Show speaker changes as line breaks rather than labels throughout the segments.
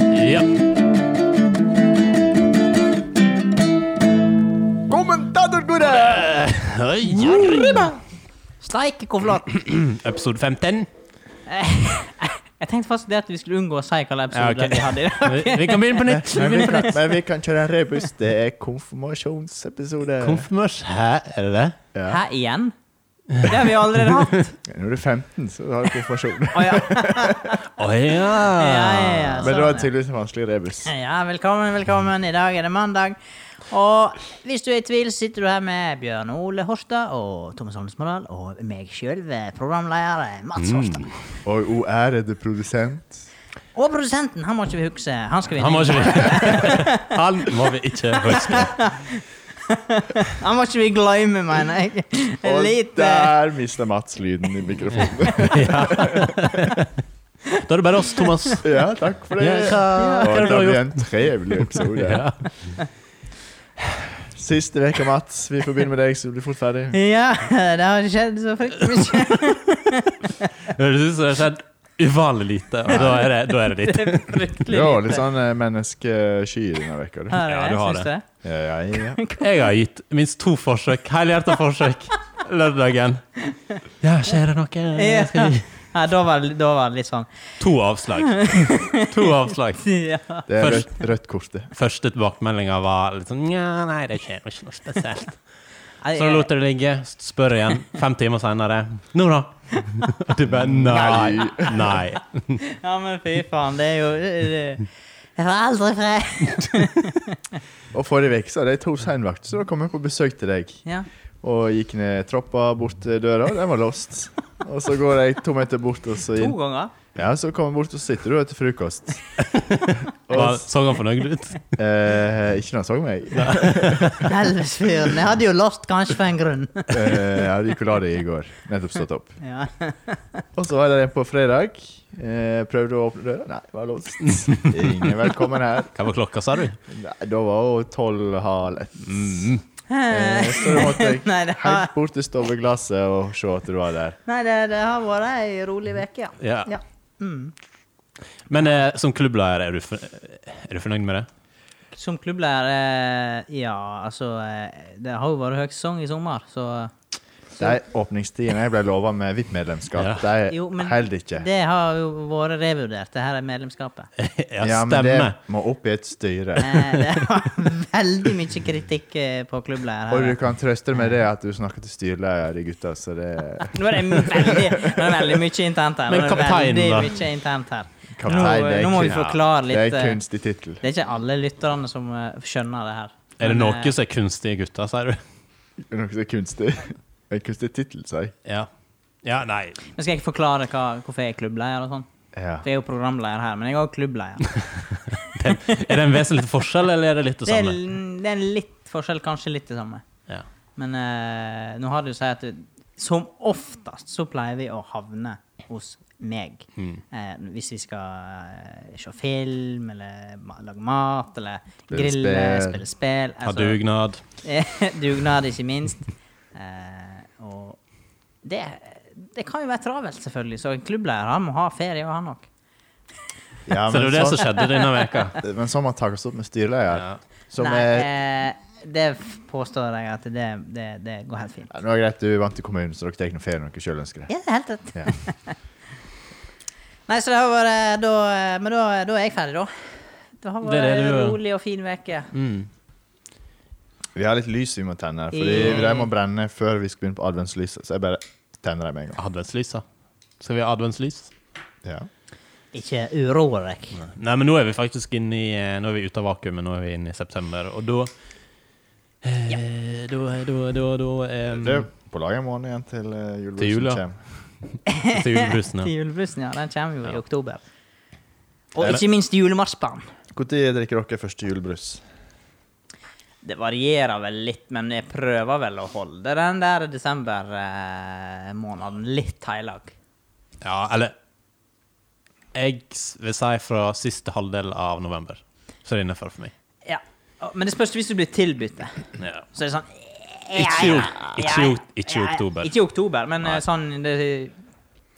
Ja.
Kommentatorkoret!
Oi, arriba!
Steike, hvor flott!
Episode 15.
Jeg tenkte faktisk det at vi skulle unngå å si hvilken
Ja, ok.
episode vi hadde i dag.
Vi, vi kan begynne på nytt.
Men vi, kan, men vi kan kjøre en rebus. Det er konfirmasjonsepisode.
Konfirmers her, er det det?
Hæ, igjen? Det har vi allerede hatt.
Når du er 15, så har du konfirmasjon.
Altså-
Å ja.
Å ja.
Ja, ja, ja.
Men det var
sånn, ja.
tydeligvis en vanskelig rebus.
Ja, velkommen, velkommen. I dag er det mandag. Og hvis du er i tvil, sitter du her med Bjørn Ole Horstad og Thomas Holmsmodal og meg sjøl, programleder eh,
Mm.
Mats Horstad.
Og o ærede produsent.
Og produsenten, han må ikke vi huske. Han skal vi
Han må ikke Han må vi ikke huske.
han må ikke vi glemme, mener jeg.
Og
Lite
der mista Mats lyden i mikrofonen.
Da er det bare oss, Thomas.
Ja, takk for det.
Ja, hva- hva
Og
er det du
det
har
blir
gjort?
en trevelig episode.
Ja.
Siste uke, Mats. Vi får begynne med deg, så du blir fort ferdig.
Ja, det har skjedd så fryktelig mye.
Det høres ut som det har skjedd uvanlig lite, og da er det, da er det ditt.
Det er fryktelig
Ja,
lite.
litt sånn eh, menneskesky denne veka. du.
Har jeg,
Ja, du har
syns
det.
Ja, ja, ja.
Jeg har gitt minst to forsøk. Helhjerta forsøk. Lørdagen. Ja, skjer det noe? Jeg
Ja.
Skal vi?
Ja, da var, det- da var det litt sånn
To avslag. To avslag.
ja.
Det er
Først-
rødt, rødt kortet.
Første tilbakemeldinga var litt sånn Nja, nei, det skjer jo ikke noe spesielt.
Nei,
Så lot jeg det ligge. Spør igjen fem timer seinere. Nå, da? Og du bare Nei. Nei.
Ja, men fy faen, det er jo det- det- Jeg får aldri fred.
Og forrige uke hadde jeg to seinvakter som kom jeg på besøk til deg.
Ja.
Og gikk ned trappa bort til døra, og den var låst. Og så går jeg to meter bort, og så
To
inn.
ganger?
Ja, så kommer jeg bort, og så sitter du og spiser frokost. Og,
Var,
s-
så han fornøyd ut?
eh, ikke når han så meg.
Helvetes fyren. Jeg hadde jo lost kanskje for en grunn.
Eh, jeg hadde Nicolade i går. Nettopp stått opp.
Ja.
Og så var det en på fredag. Eh, prøvde å åpne døra. Nei, var låst. Ingen velkommen her.
Hva var klokka, sa du?
Nei, da var hun tolv halv ett. Eh,
Eh,
Så da måtte jeg
Nei, det har-
helt bort til stoveglasset og se at du var der.
Nei, det, det har vært ei rolig uke, ja.
Ja.
ja. Mm.
Men eh, som klubbleder, er, du for- er du fornøyd med det?
Som klubbleder, eh, ja, altså eh, Det har jo vært høysesong i sommer, så
De åpningstidene jeg ble lova med VIP-medlemskap,
Jo,
de
men
holder ikke.
det har jo vært revurdert, det her er medlemskapet.
Ja,
men det
stemmer.
må opp i et styre.
Eh, Det var veldig mye kritikk eh, på klubbleder
Og du
her.
kan trøste med det at du snakker til styreleder, de gutta, så det
Nå er det veldig, nå er det veldig mye internt her. Nå
Men
er det
kapteinen,
veldig
da?
mye internt her. Nå,
Kaptein, det er
nå må vi
kun-
forklare
Det
litt.
er
eh,
kunstig tittel.
Det er ikke alle lytterne som eh, skjønner det her.
Er det
Men, eh,
noe som er kunstige gutter, sier du?
Det er Noe som er kunstig. En kunstig tittel, sa jeg.
Ja. Ja, nei.
eh, Men skal jeg forklare hva, hvorfor jeg er klubbleder og sånn?
Ja.
For jeg er jo programleder her, men jeg er òg klubbleder.
Er det en vesentlig forskjell, eller er det litt det
Det er,
samme?
det er litt forskjell, kanskje litt det samme.
Ja.
Men eh, nå har det jo seg at det- som oftest så pleier vi å havne hos meg.
Mm.
Eh, hvis vi skal eh, se film, eller ma lage mat, eller
Spille
grille,
spill.
spille spill.
Ha dugnad.
Altså, dugnad, ikke minst. Eh, og det, det kan jo være travelt, selvfølgelig, så en klubbleier han må ha ferie, og han nok.
Ja,
Så det
men
er jo det som
så-
skjedde denne veka.
men så må man tas opp med styreleder,
Ja.
som
Nei,
er
eh, det påstår jeg at det, det, det går helt fint.
ja, Nå er det greit, du vant til kommunen, så dere tar noe ferie når dere sjøl ønsker det.
Ja, det er helt rett.
Ja.
Nei, så det har vært da, eh, Men da, da er jeg ferdig, da. Det har
Det er
vært
det
en
du er.
rolig og fin uke.
Mm.
Vi har litt lys vi må tenne, fordi de må brenne før vi skal begynne på adventslyset. Så jeg bare tenner dem med en gang.
Adventslysa. Skal vi ha adventslys?
Ja.
Ikke uro deg.
Nei, men nå er vi faktisk inne i eh, Nå er vi ute av vakuumet, nå er vi inne i september, og da eh, Da, da, da, da em,
Det er på lag en måned igjen til eh,
Mm. Til jul, ja.
julebrusen kommer.
Til julebrusen,
Til
ja.
julebrussen, ja. Den kommer jo
Ja.
i oktober. Og
Eller-
ikke minst julemarsipan.
Når drikker dere første julebrus?
Det varierer vel litt, men jeg prøver vel å holde den der desember-måneden litt heilag.
ja. Eller Jeg s- vil si fra siste halvdel av november. Så er det innenfor for meg.
Ja. Men det spørs hvis du blir tilbudt det.
Ja.
Så er det sånn
Ikke i ok- ikke i ok- ikke i oktober.
Ikke i oktober, men eh,
Nei.
sånn det,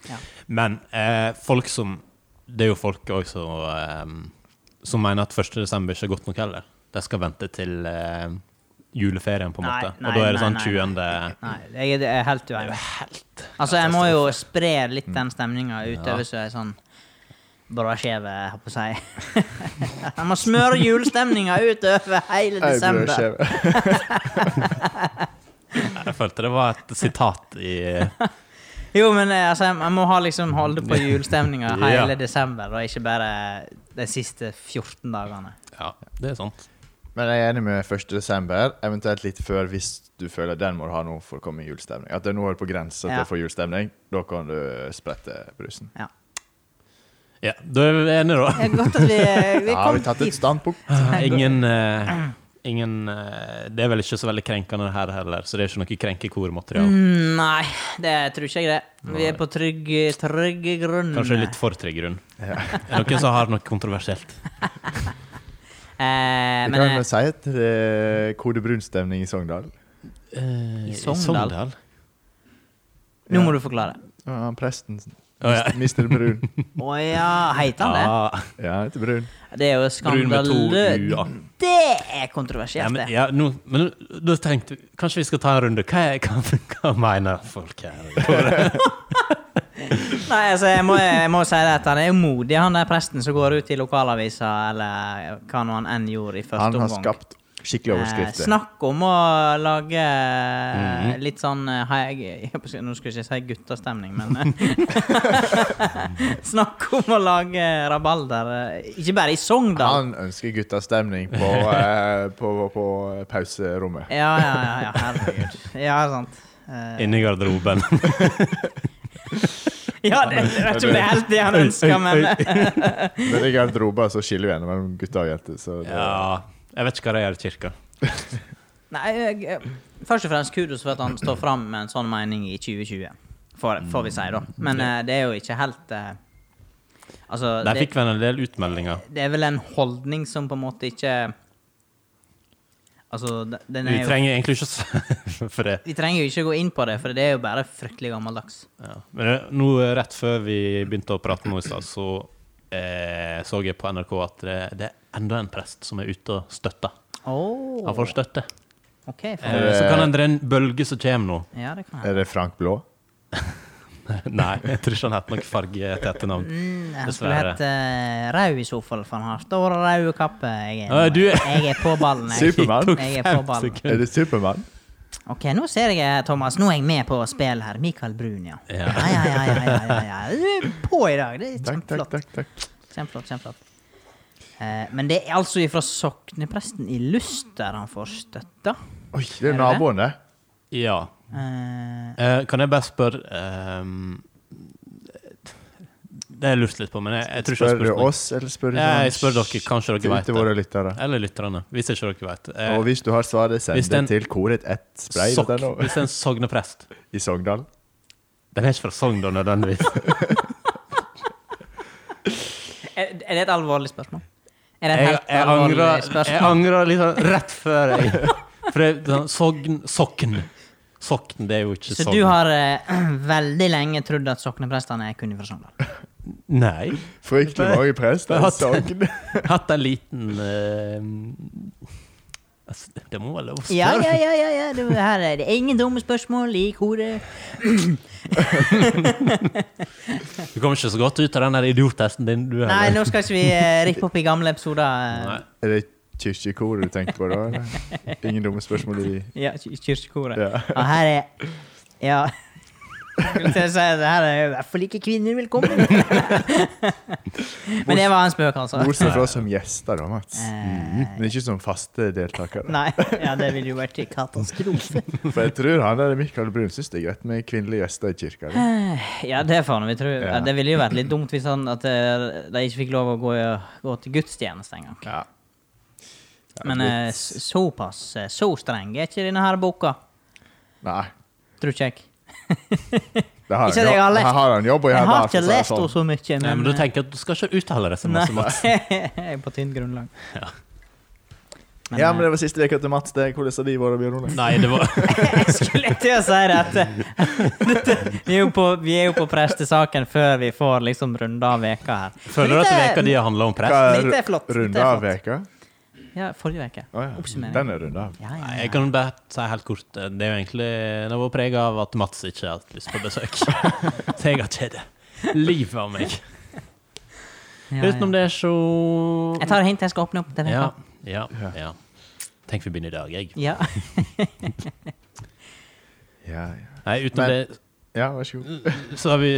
ja.
Men eh, folk som Det er jo folk også som eh, som mener at 1. desember ikke er godt nok heller. De skal vente til eh, juleferien, på en
Nei,
måte.
nei,
og da er det
nei,
sånn
nei,
20.
Nei, jeg er- jeg er helt uenig.
Helt Mm.
Altså, jeg må jo spre litt den stemninga utover så jeg er sånn brødskive, holdt på å si. Jeg må smøre julestemninga utover hele
Ei,
desember.
brødskive.
Jeg følte det var et sitat i
Jo, men eh, altså, jeg- jeg må ha liksom holde på julestemninga
Ja.
hele desember, og ikke bare de siste 14 dagene.
Ja, det er sant.
Men jeg er enig med 1. desember, eventuelt litt før hvis du føler den må du ha nå for å komme i julestemning. At det nå er på grensa
Ja.
til å få julestemning, da kan du sprette brusen.
Ja.
Ja, da er vi enige, da.
Det er godt at vi, eh, vi
Ja, har
kom
vi tatt et
dit.
standpunkt?
Ingen, eh, ingen eh, Det er vel ikke så veldig krenkende her heller, så det er ikke noe krenkekormateriale.
Mm, Nei, det tror ikke jeg det. Vi er på trygg, trygg grunn.
Kanskje litt for trygg grunn. Er det noen som har noe kontroversielt?
eh,
Vi
Men
kan
eh,
jo si at det er kode brunstemning i Sogndal.
Eh,
I Sogndal?
Ja.
nå må du forklare.
Ja, han presten,
Å, ja.
Mr. Brun.
Å ja, heter han det?
Ah,
Ja, heter Brun.
Det er jo
brun med to
skandaløst.
u-er.
Det er
Ja,
kontroversielt,
men,
det.
ja, nå, men nå- da tenkte vi Kanskje vi skal ta en runde. Hva, er, hva, hva mener folk her?
Nei, altså, jeg må, jeg må si det at han er jo modig, han der presten som går ut i lokalavisa, eller hva nå han enn gjorde i første
Han har
omgang.
skapt skikkelige overskrifter.
Eh, snakk om å lage
Mhm.
eh, litt sånn eh, hei, jeg, jeg, jeg, Nå skulle jeg ikke si guttastemning, men eh, Snakk om å lage rabalder eh, Ikke bare i Sogndal.
Han ønsker guttastemning på, eh, på, på, på pauserommet.
Ja, ja, ja, ja, herregud. Ja, sant. Eh,
Inni garderoben.
ja, det, jeg vet ikke om det er helt det han ønsker, men eh,
Men i garderoben så skiller vi henne mellom gutter og jenter. Så det,
Ja, jeg vet ikke hva de gjør i kirka.
Nei, jeg, jeg- først og fremst kudos for at han står fram med en sånn mening i 2020, får, får vi si, da. Men
Ja.
eh, det er jo ikke helt eh, Altså,
Der
det,
fikk vi en del utmeldinger.
det er vel en holdning som på en måte ikke Altså, de- den
Vi
er jo
trenger egentlig ikke å s- for det.
Vi trenger jo ikke gå inn på det, for det er jo bare fryktelig gammeldags.
Ja. Men eh, nå eh, rett før vi begynte å prate nå i stad, så eh, så jeg på NRK at det, det er enda en prest som er ute og støtter.
Oh.
Han får støtte.
OK. For,
Eh, så kan endre en bølge som kommer nå.
ja, det kan
Eh,
hende.
Er det Frank Blå?
Nei, jeg tror ikke han heter noe fargetete navn.
Mm, Han skulle
Dessverre.
hett uh, Rau i så fall, for han har stor rød kappe. Jeg
Ja,
er,
du er-
jeg er på ballen. Jeg.
Supermann?
Tok
Jeg er
fem
på ballen.
sekunder.
Er det Supermann?
Ok, nå ser jeg, eh, Thomas, nå er jeg med på spill her. Mikael Brun, ja.
Ja.
Ja, ja, ja. ja, ja, ja, ja. Du er på i dag. Det
Sånn
er
Takk, takk,
kjempeflott.
takk. takk.
kjempeflott, kjempeflott. Eh, men det er altså fra soknepresten i Luster han får støtte.
Oi, det
Er det
er naboen, det.
Ja.
Eh,
Eh, kan jeg bare spørre ehm, Det har jeg lurt litt på, men jeg, jeg tror ikke jeg har
Spør du
spurt noen.
oss, eller spør du
Ja, jeg spør dere, kanskje dere
Til
vet det.
våre lyttere.
Eller lytterne, hvis ikke dere vet. Eh,
Og hvis du har svaret, send
hvis
det
den-
til koret ett spray
sokk, hvis det er en sogneprest
i Sogndal.
Den er ikke fra Sogn, da, nødvendigvis.
er, er det et alvorlig spørsmål? Er det et
Jeg,
helt
jeg,
alvorlig
angrer, jeg
spørsmål?
angrer liksom rett før jeg For det, er sånn, Sogn Sokn. Sokn, det er jo ikke sånn.
Så
Sogn.
du har eh, veldig lenge trodd at sokneprestene er kun fra Sogndal?
Nei.
Fryktelig mange prester i
Hatt-
Sogn.
Hatt en liten eh, altså, Det må være lov å spørre.
Ja, ja, ja, ja, ja. Det, her er det ingen dumme spørsmål i koret.
Du kommer ikke så godt ut av den der idiottesten din. Du,
Nei,
heller.
nå skal ikke vi eh, rippe opp i gamle episoder. eh,
Nei.
Er det kirkekoret du tenker på da? eller? Ingen dumme spørsmål i
Ja, i kirkekoret.
Ja.
Og her er Ja. Skulle til å si at her er i hvert fall ikke kvinner velkommen. Men det var en spøk, altså.
Bortsett fra som gjester, da, Mats.
Eh,
Men ikke som faste deltakere.
nei, ja, det ville jo vært altså. en katastrofe.
For jeg tror han der Mikael Brun syns det er greit med kvinnelige gjester i kirka. eller?
Eh, Ja, det får vi tro.
Ja.
Det ville jo vært litt dumt hvis han at eh, de ikke fikk lov å gå, gå til gudstjeneste engang.
Ja.
Men eh, s- såpass, eh, så streng er ikke denne her boka,
Nei.
tror ikke jeg.
Det har
Ikke
han
at jeg har
jobb-
lest-
her har han jobb å
Jeg
gjøre.
har
da, for å si
ikke
det
lest
sånn.
henne så mye,
Nei, men du
eh,
tenker at du skal ikke uttale deg så
Nei,
masse. Mats.
jeg er på tynt grunnlag. men,
ja, men
eh,
det var siste leka til Mats. Det er Hvordan har de vært, Bjørn Ole?
Nei, det var
jeg skulle til å si dette. dette vi, er jo på, vi er jo på prestesaken før vi får liksom runde av veka her.
Føler du at
Dette-
veka di har handla om press?
Hva
Dette er flott, dette er
Runde av
flott.
veka?
Ja, forrige veke.
Å ja.
Oppsummering.
Den er runde av.
Ja, ja,
Nei,
ja.
jeg kan bare si helt kort eh, Det er jo egentlig Det var preget av at Mats ikke har hatt lyst på besøk. Så jeg har kjede. Livet av meg.
Ja, ja.
Utenom det, så
Jeg tar hint, jeg skal åpne opp denne
ja,
veka.
ja, ja. Tenk vi begynner i dag, jeg.
Ja.
Ja, ja.
Nei, utenom
Men-
det
ja, vær så god.
Så har vi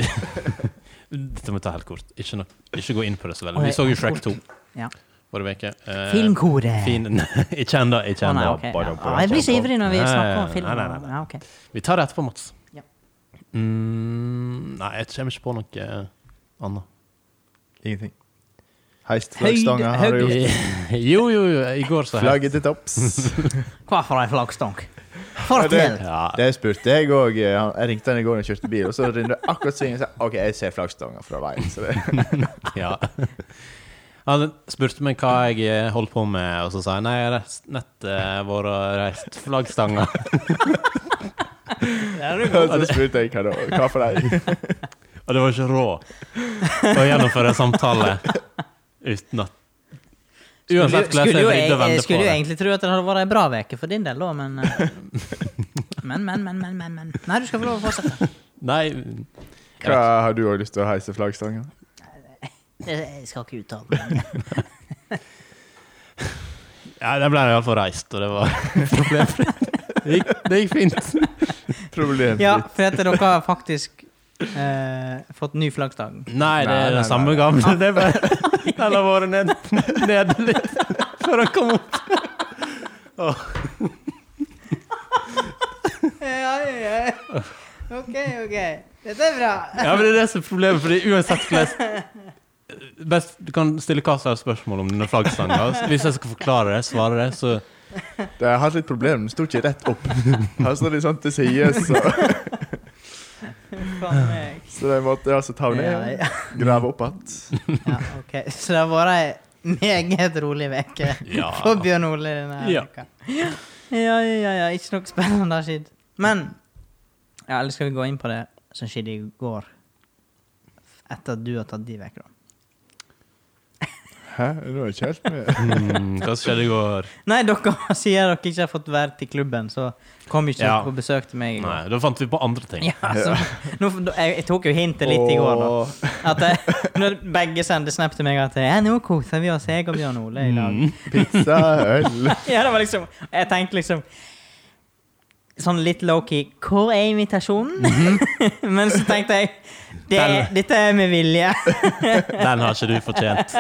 Dette må jeg ta helt kort. Ikke, nok, ikke gå inn på det så veldig. Vi så jo Shrek 2
Ja.
forrige uke. Eh,
Filmkode!
Fin. Nei, Ikke ennå. Ikke
Å, nei,
ennå.
ok. ja. Ja, jeg blir så ivrig når vi
Nei,
snakker om film.
nei, nei, nei.
Ja, ok.
Vi tar det etterpå, Mats.
Ja.
Mm, nei, jeg kommer ikke på noe eh, annet.
Ingenting. Heist
Høyde-
flaggstanga har du
høyde-
gjort.
Jo, jo, jo. I går så
Flagget til topps.
Hva for ei flaggstang? Fortell!
Ja.
Det spurte jeg òg. Jeg ringte han i går når jeg kjørte bil, og så runda akkurat svingen. og sa, OK, jeg ser flaggstanga fra veien. Så det
ja. Han spurte meg hva jeg eh, holdt på med, og så sa jeg nei, jeg har reist- nett eh, vært og reist flaggstanga.
Og så spurte jeg hva, da, hva for deg.
Og det var ikke råd å gjennomføre en samtale uten at Uansett hvordan
Skulle
jeg
jo,
vridde og
jeg,
vendte på
skulle jo
det.
egentlig tro at det hadde vært ei bra uke for din del, da, men eh, Men, men, men, men, men. men. Nei, du skal få lov å fortsette.
Nei,
Hva har du òg lyst til å heise flaggstanga?
Jeg skal ikke uttale meg.
ja, der ble jeg iallfall reist, og det var problemfritt. Det gikk, det gikk fint.
Problemfritt.
Ja, for at dere har faktisk eh, fått ny flaggstang.
Nei, det
Nei,
er
nei,
den samme
nei.
gamle. Det er bare Den har vært ned, ned litt før han kom opp.
Ja, ja, ja. OK, OK. Dette er bra.
Ja, men det er det som er problemet, fordi uansett hvordan Best, Du kan stille hva som helst spørsmål om denne flaggstanga. Hvis jeg skal forklare det, svare det, så
Det har hatt litt problem, den sto ikke rett opp. Her står det sånn til side, så,
Faen meg.
så de måtte altså ta den
Ja,
ned,
ja.
grave opp igjen.
Ja, ok. Så det har vært ei meget rolig uke
Ja.
for Bjørn Ole denne
Ja.
uka. Ja, ja, ja, ja. Ikke noe spennende har skjedd. Men ja, Eller skal vi gå inn på det som skjedde i går? Etter at du har tatt de vekk, da.
Hæ, nå er jeg ikke helt med.
mm, Hva skjedde i går?
Nei, dere sier dere ikke har fått vært i klubben, så kom ikke
Ja.
dere på besøk til meg. i går.
Nei, da fant vi på andre ting.
Ja, altså, nå, jeg, jeg tok jo hintet litt i går, da.
Åh,
At jeg, når begge sendte snap til meg at eh, ja, 'Nå koser vi oss, jeg og Bjørn Ole i lag'.
Mm. Hmm.
Pizza, øl
Ja, det var liksom Jeg tenkte liksom Sånn litt low-key Hvor er invitasjonen? Men så tenkte jeg det, er- Dette er med vilje.
Den har ikke du fortjent.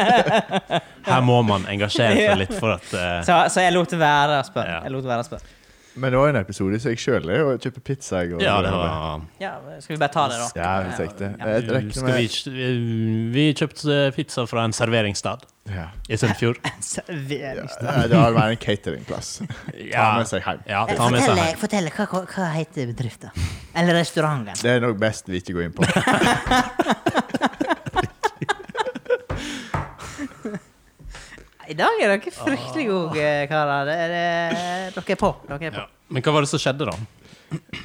Her må man engasjere seg litt for at eh,
Så, så jeg lot være å spørre.
Ja.
Jeg lot være å spørre.
Men det var en episode så jeg sjøl er og kjøper pizza i går.
Ja, det var
Ja, skal vi bare ta det, da?
Ja, hvis jeg ikke
Ja.
Jeg regner
Skal vi,
med
ikke- vi- vi kjøpte eh, pizza fra en serveringsstad
Ja,
i Sunnfjord.
Servering.
Ja, det har vært en cateringplass. Ta med seg hjem.
Ja, ta med seg
Fortell,
her.
fortell hva, hva- hva heter bedriften? Eller restauranten?
Det er nok best vi ikke går inn på.
I dag er dere fryktelig gode, karer. Det er det- Dere er på. Dere er på.
Ah. Ja. Men hva var det som skjedde, da?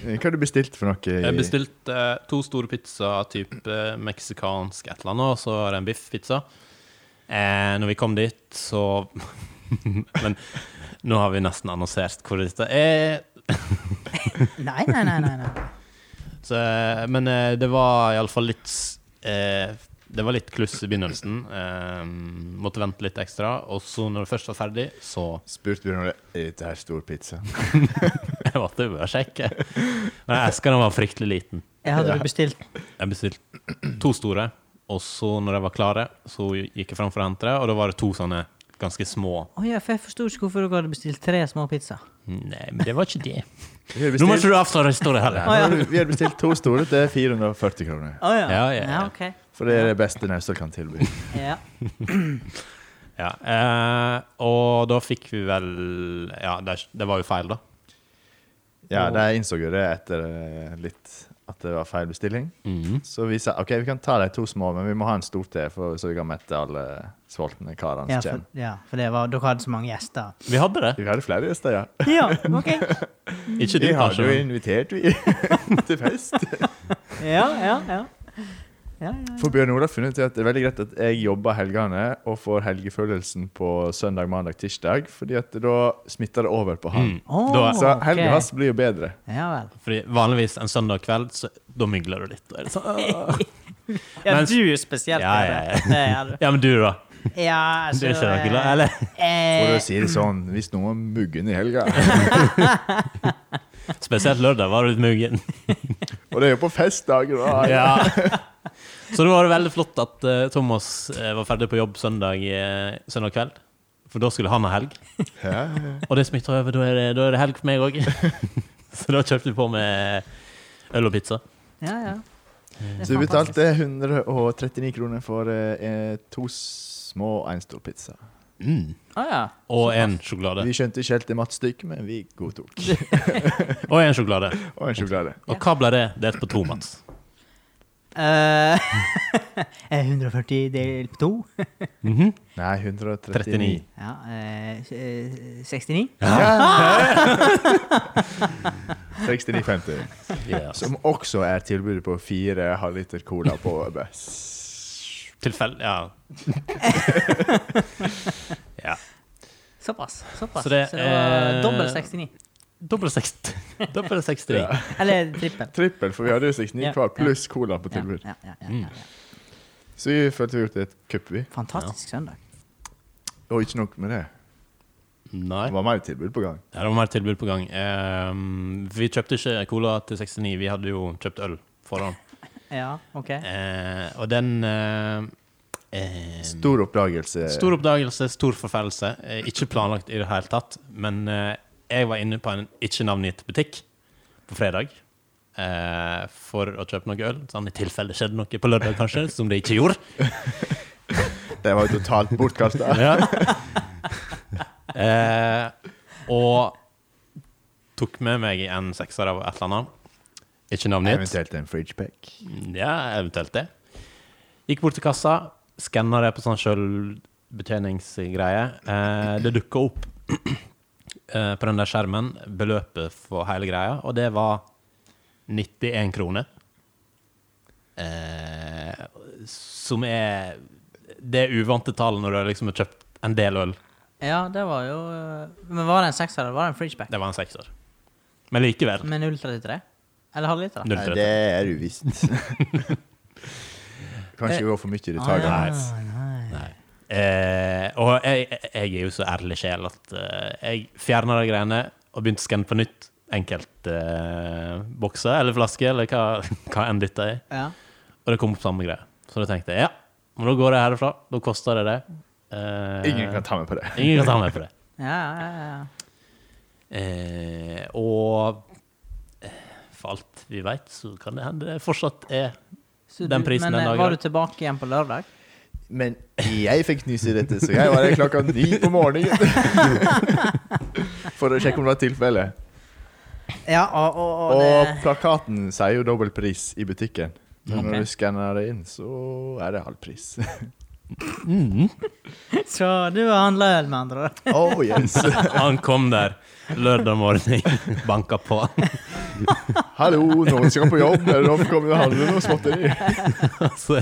Hva har du bestilt for noe? i-
Jeg bestilte eh, to store pizzaer, type meksikansk et eller annet, og så var det en biffpizza. Eh, når vi kom dit, så Men nå har vi nesten annonsert hvor dette er.
Nei, nei, nei. nei, nei.
Så, eh, men eh, det var iallfall litt s- eh, Det var litt kluss i begynnelsen. Eh, måtte vente litt ekstra. Og så, når det først var ferdig, så
Spurte Bjørn Ole er dette her stor pizza.
Jeg måtte jo bare sjekke. Men esken var fryktelig liten.
Jeg hadde du bestilt
Jeg bestilte to store, og så, når de var klare, så gikk jeg fram for å hente det, og da var det to sånne ganske små.
Å ja, for jeg forsto ikke hvorfor dere hadde bestilt tre små pizzaer.
Nei, men det var ikke det.
Vi har
Nå må
bestilt,
ikke du avsløre historien heller.
Å, ja.
vi har bestilt to store til 440 kroner.
Å ja.
Ja, ja, ja.
ok.
For det er det beste Naustdal kan tilby.
Ja.
Ja, eh, og da fikk vi vel Ja, det, det var jo feil, da.
Ja, de innså jo det etter eh, litt at det var feil bestilling.
Mhm.
Så vi sa ok, vi kan ta de to små, men vi må ha en stor til, for, så vi kan mette alle sultne karene
Ja,
som
for,
kommer.
ja, for det var, dere hadde så mange gjester.
Vi hadde det.
Vi hadde flere gjester, ja.
Ja, OK.
Ikke du,
Vi hadde jo
kanskje.
invitert vi til fest.
Ja, ja, ja. ja, ja.
For Bjørn Olav har funnet ut at det er veldig greit at jeg jobber helgene og får helgefølelsen på søndag, mandag, tirsdag, fordi at da smitter det over på han.
Mm.
Åh,
Da,
Så helga
Ah, ok.
hans blir jo bedre.
Ja vel.
fordi vanligvis en søndag kveld, så, da mygler du litt. Og er det sånn, «Åh».
Ja,
Mens-
du er spesielt.
Ja, ja, ja.
Peder. Det er du.
ja, men du, da?
Ja,
Du
altså,
er ikke
eh,
regulær, eller?
For å
eh,
si det sånn, hvis noen mugger i helga
Spesielt lørdag var du litt muggen.
Og det er jo på festdager, da!
Ja. Så da var det veldig flott at eh, Thomas eh, var ferdig på jobb søndag, eh, søndag kveld. For da skulle han ha helg.
Ja, ja.
Og det smitter over, da er det, da er det helg for meg òg. Så da kjøpte vi på med øl og pizza.
eh, ja, ja. Det er
Så vi
fantastisk.
betalte 139 kroner for eh, eh, to små og en stor pizza.
Å ja.
Og en sjokolade.
Vi skjønte ikke helt det mattstykket, men vi godtok.
Og en sjokolade.
Og en sjokolade.
Og hva ble det delt på to, Mats?
Eh, eh, 140 delt på to.
Mhm.
Nei, 139.
39.
Ja, eh, eh, 69.
Ja. 69,50.
Yes.
Som også er tilbudet på fire halvliter cola på Bess.
Tilfell... Ja. ja.
Såpass. såpass.
Så
Så
det,
det, var
eh,
dobbelt 69.
Dobbel 60. Dobbel 63.
Ja.
Eller trippel.
Trippel, for vi hadde jo 69
Ja,
hver,
ja.
pluss cola på
Ja,
tilbud.
ja, ja, ja,
Mm.
ja.
Så vi følte vi gjorde et kupp, vi.
Fantastisk søndag.
Og ikke nok med det.
Nei.
Det var mer tilbud på gang.
Ja, det var mer tilbud på gang. Ehm, vi kjøpte ikke cola til 69, vi hadde jo kjøpt øl forhånd.
Ja, OK.
Eh, og den eh, eh,
Stor eh, oppdagelse.
stor oppdagelse, stor forferdelse. Eh, ikke planlagt i det hele tatt. Men eh, jeg var inne på en ikke-navngitt butikk på fredag eh, for å kjøpe noe øl. Sånn, I tilfelle det skjedde noe på lørdag, kanskje, som det ikke gjorde.
Det var jo totalt bortkasta.
Ja. eh, og tok med meg en sekser av et eller annet. Ikke navnet.
Eventuelt en fridgepack.
Ja, eventuelt det. Gikk bort til kassa, skanna det på sånn sjølbetjeningsgreie. Eh, det dukka opp eh, på den der skjermen beløpet for hele greia, og det var 91 kroner. Eh, som er Det er uvante tall når du liksom har kjøpt en del øl.
Ja, det var jo eh, Men var det en sekser eller var det en fridgeback?
Det var en sekser. Men likevel.
Med 0,33? Eller halvliter?
Null.
Nei, det er uvisst. Kan ikke gå for mye i
Ah,
detaljene.
ja, nei.
Nei. Eh, og jeg, jeg- jeg er jo så ærlig sjel at eh, jeg fjerna de greiene og begynte å skanne på nytt. Enkelt eh, bokser eller flasker eller hva, hva enn dette er.
Ja.
Og det kom opp samme greie. Så da tenkte jeg ja, men da går jeg herfra. Da koster det det. Eh,
Ingen kan ta meg på det.
ingen kan ta meg på det.
Ja, ja, ja, ja.
Eh, og eh, for alt vi veit, så kan det hende det fortsatt er
Så
Den prisen
men,
den
eh,
dagen.
Var du tilbake igjen på lørdag?
Men jeg fikk nys i dette, så jeg var der klokka ni på morgenen. For å sjekke om det var tilfelle.
Ja, og, og, og
Og
det,
plakaten sier jo dobbel pris i butikken. Men
Ok.
når du skanner det inn, så er det halv pris.
Så du har handla øl, med andre ord?
Oh yes!
Han kom der lørdag morgen, banka på.
Hallo, noen skal på jobb, eller noen kommer til å handle noe småtteri.
Så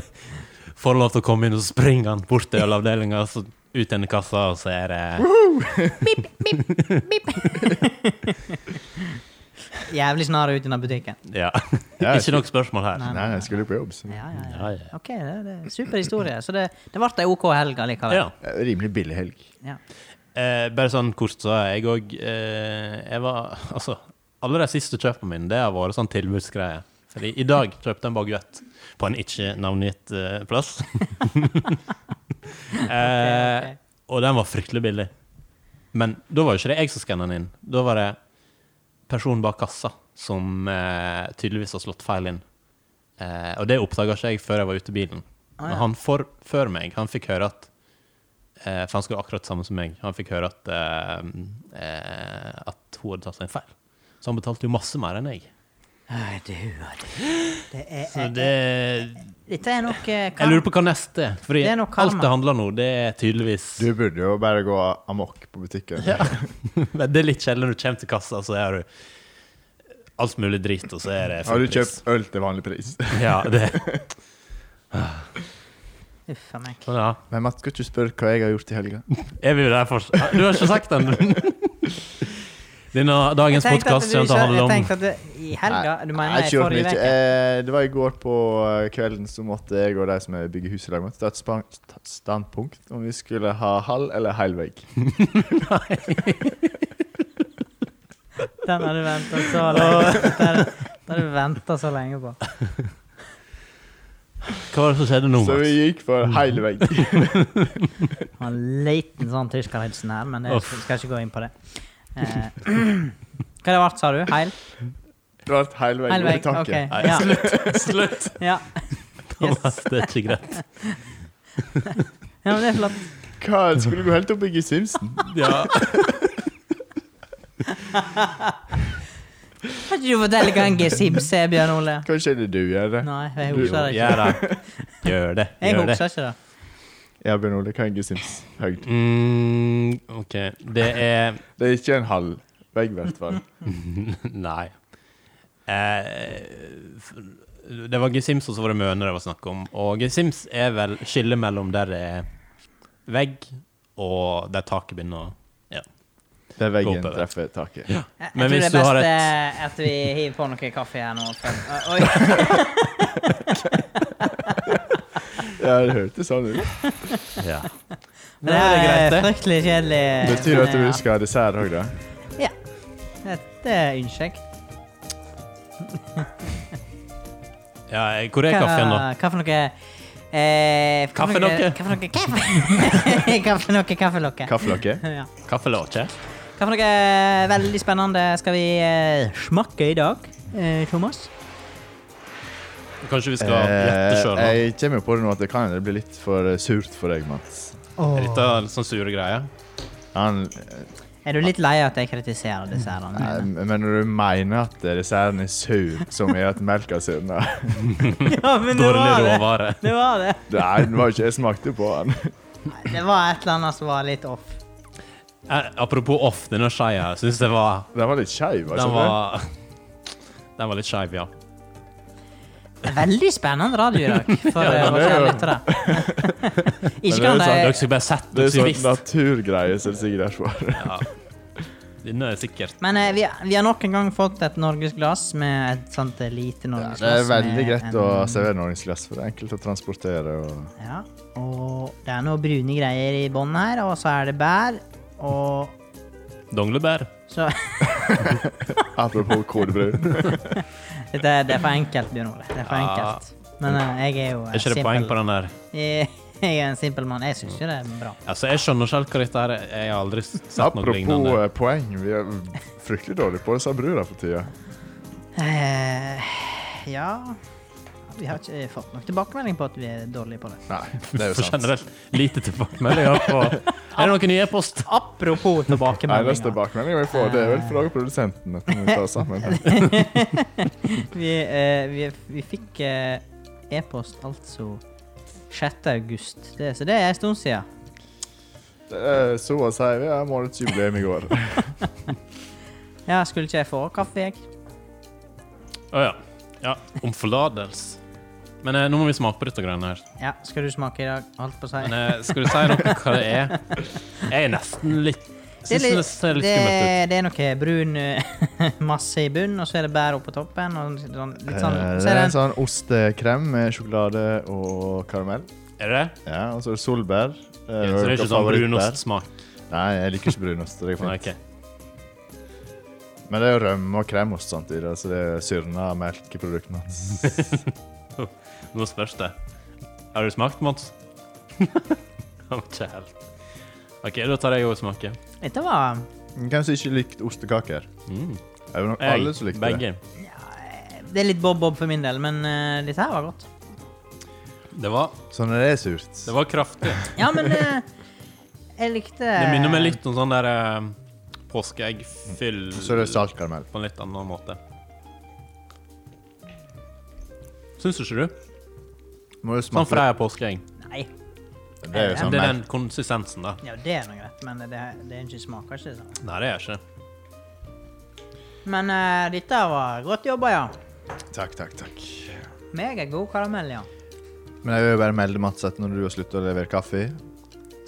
får han lov til å komme inn, og så springer han bort til ølavdelinga, så ut igjen i kassa, og så er det
Jævlig snar ut i den butikken.
Ja.
Ja,
Ikke nok spørsmål her.
Nei.
Nei, jeg skulle på jobb, så.
Ja, ja,
Ja,
ja.
ja.
OK, det, det er super historie. Så det, det ble ei OK helg allikevel.
Ja.
Det er jo Rimelig billig helg.
Ja.
Eh, bare sånn kort, så er jeg òg eh, Jeg var Altså, alle de siste kjøpene mine, det har vært sånn tilbudsgreier. Fordi i dag kjøpte jeg en baguett på en ikke-navngitt eh, plass. eh, og den var fryktelig billig. Men da var jo ikke det jeg som skanna den inn. Da var det personen bak kassa som eh, tydeligvis har slått feil inn. Eh, og det oppdaga ikke jeg før jeg var ute i bilen.
Ah, ja.
Men han for, før meg, han fikk høre at eh, For han skulle akkurat samme som meg. Han fikk høre at, eh, eh, at hun hadde tatt seg en feil. Så han betalte jo masse mer enn jeg.
Nei, du og du. Det er,
Så det
dette er nok eh,
Jeg lurer på hva neste er. Fordi
Det er nok karma.
alt det handler om nå, det er tydeligvis
Du burde jo bare gå amok på butikken.
Ja. Men det er litt sjelden når du kommer til kassa, så er du alt mulig drit, og så er det
Har
full
du kjøpt øl til vanlig pris?
pris. Ja, det,
Uff a meg.
sånn, ja.
Men Mats, skal ikke du spørre hva jeg har gjort i helga?
Er vi jo der fortsatt? Ah, Du har ikke sagt den! Denne
Jeg
dagens
tenkte at
podkast
du
kommer til å handle
ikke- jeg
om
tenkte at det, I helga? Du mener
Nei,
i
ikke gjort
forrige
mye.
uke?
Eh, Det var i går på eh, kvelden så måtte jeg og de som jeg bygger hus i lag, måtte ta et span- ta et standpunkt om vi skulle ha halv eller hel vegg.
Den har du venta så lenge Den den har du ventet så lenge på.
Hva var det som skjedde nå,
Så vi
Mats?
gikk for hel vegg.
Han har en liten sånn tyskerhilsen her, men jeg
Uff.
skal ikke gå inn på det. Eh, hva det ble, sa du? Heil?
Det var et hel vegg
Heil
over
vegg?
taket.
OK.
Nei,
Ja.
slutt! Slutt!
ja.
Thomas, det er ikke greit.
ja men det er flott.
Hva, skulle du gå helt opp i G. Simpson?
Ja.
Kan ikke du fortelle hva en G-Sims er, Bjørn Ole?
Kanskje det du gjør det?
Nei, jeg
Du-
husker det ikke.
Gjør det. Gjør det.
Jeg
Gjør det.
husker ikke det.
Ja, Bjørn Ole, hva er en G. Sims? Høyd.
Mm, OK. Det er
Det er ikke en halv vegg, i hvert fall.
Nei. Eh, f- det var Gesims, og så var det Møne det var snakk om. Og Gesims er vel skillet mellom der det er vegg, og der taket begynner å
Der veggen
Håper det.
treffer taket.
Jeg,
Men
jeg tror
hvis
det er
du har
best
et-
eh, at vi hiver på noe kaffe her nå. for- Oi.
Ja, det hørtes sånn ut.
Ja.
Men det
Nei, det er
er
greit, det.
fryktelig kjedelig.
Betyr det at
men,
vi
ja.
skal ha dessert òg, da?
Det, det ønsker jeg.
ja hvor er kaffen, da?
Hva for noe eh, hva for noe-
Kaffelokke.
Hva for noe kaffe? Hva for noe kaffelokke?
Kaffelokke?
Ja.
Kaffe eller ikke?
Hva for noe eh, veldig spennende skal vi eh, smakke i dag, eh, Thomas?
Kanskje vi skal gjette sjøl?
Eh, jeg kommer jo på det nå at det kan det blir litt for eh, surt for deg, Mats.
Er dette sånn sure greier?
Han,
Er du litt lei av at jeg kritiserer dessertene?
eh,
dine?
Mm.
men når du mener at desserten er sur, som er at melka surner
ja, men
Dårlig
det var det.
råvare.
Det var det.
Nei, den var ikke jeg smakte på den.
Nei, Det var et eller annet som var litt off.
Eh, apropos off, denne skeia syns jeg var
Den var litt skeiv. altså.
Den var Den var litt skeiv, ja.
Veldig spennende radio i dag for
Ja,
eh,
men
våre
det er
kjære
jo-
lyttere.
det er jo
Ikke kan
sånn, Dere
de
skulle bare sett
Det
det,
er
så
sånn
visst.
naturgreie, så det er sikkert derfor.
Ja. Denne er sikkert
Men eh, vi, vi har nok en gang fått et norgesglass med et sånt eh, lite
Ja,
norgesglass.
det
sånn,
er veldig
med
eh,
greit
en-
å
mm.
servere norgesglass, for det er enkelt å transportere. Og
Ja, og det er noe brune greier i bånn her, og så er det bær, og
donglebær.
så
apropos kodebrun.
Dette er- det er for enkelt, Bjørn Ole. Det er for
Ja.
enkelt. Men eh, jeg er jo en
Er ikke det poeng på den der?
Jeg er en simpel mann. Jeg syns jo det er bra.
Altså, jeg skjønner selv hva dette er. Jeg har aldri sett noe
Apropos
Sånn lignende.
eh, poeng, vi er fryktelig dårlige på det, sa brura for tida.
Eh, ja Vi har ikke fått nok tilbakemelding på at vi er dårlige på det.
Nei, det er jo
For
sant.
generelt lite tilbakemeldinger på Er det noen nye post?
Apropos
Eneste
tilbakemeldinger.
tilbakemelding vi får, det er vel fra produsenten. at vi må ta oss sammen.
Vi, eh, vi, vi fikk eh, e-post altså 6. august, det, så det er en stund siden.
Det er Eh, Så å si, vi har månedets jubileum i går.
Ja, skulle ikke jeg få kaffe, jeg?
Å ja. ja. Om forlatelse. Men eh, nå må vi smake på dette greiene her.
Ja, skal du smake i dag? Holdt på å si.
Men eh, skal du si noe hva det er? Jeg er nesten litt
Det er
Syns det
litt,
ser litt
det,
skummelt ut.
det er noe brun eh, masse i bunnen, og så er det bær oppå toppen. Og sånn, litt sånn,
Eh, Det
så er
er
det
en
en,
sånn ostekrem med sjokolade og karamell.
Er det det?
Ja, og så er det solbær. eh,
Ja, så det er ikke sånn
favorittbær.
brunostsmak?
Nei, jeg liker ikke brunost. Det er
Nei,
fint.
ok.
Men det er jo rømme og kremost samtidig, så det er syrna melkeproduktene hans.
Nå spørs det. Har du smakt, Mons? Å, Kjælt. OK, da tar jeg òg smaken.
sånn.
dette var
Kanskje ikke likt ostekaker.
Mm.
Det er jo nok alle som
Jeg,
likte det.
begge.
Det er litt bob-bob for min del, men eh, dette her var godt.
Det var,
Så når det er surt
det var kraftig.
Ja, men eh, jeg likte
Det minner meg litt om sånn der eh, påskeeggfyll
Mm. Så er det saltkaramell.
på en litt annen måte. Syns du ikke du?
Må jo
Sånn
smake
Freia påskeegg.
Nei.
litt. Det er jo sånn
Det er
mer
den konsistensen, da.
Ja, det er noe greit, men det, det er ikke smaker ikke sånn.
Nei, det er ikke det.
Men eh, dette var godt jobba, ja.
Takk, takk, takk.
Meget god karamell, ja.
Men jeg vil jo bare melde Mats at når du har sluttet å levere kaffe,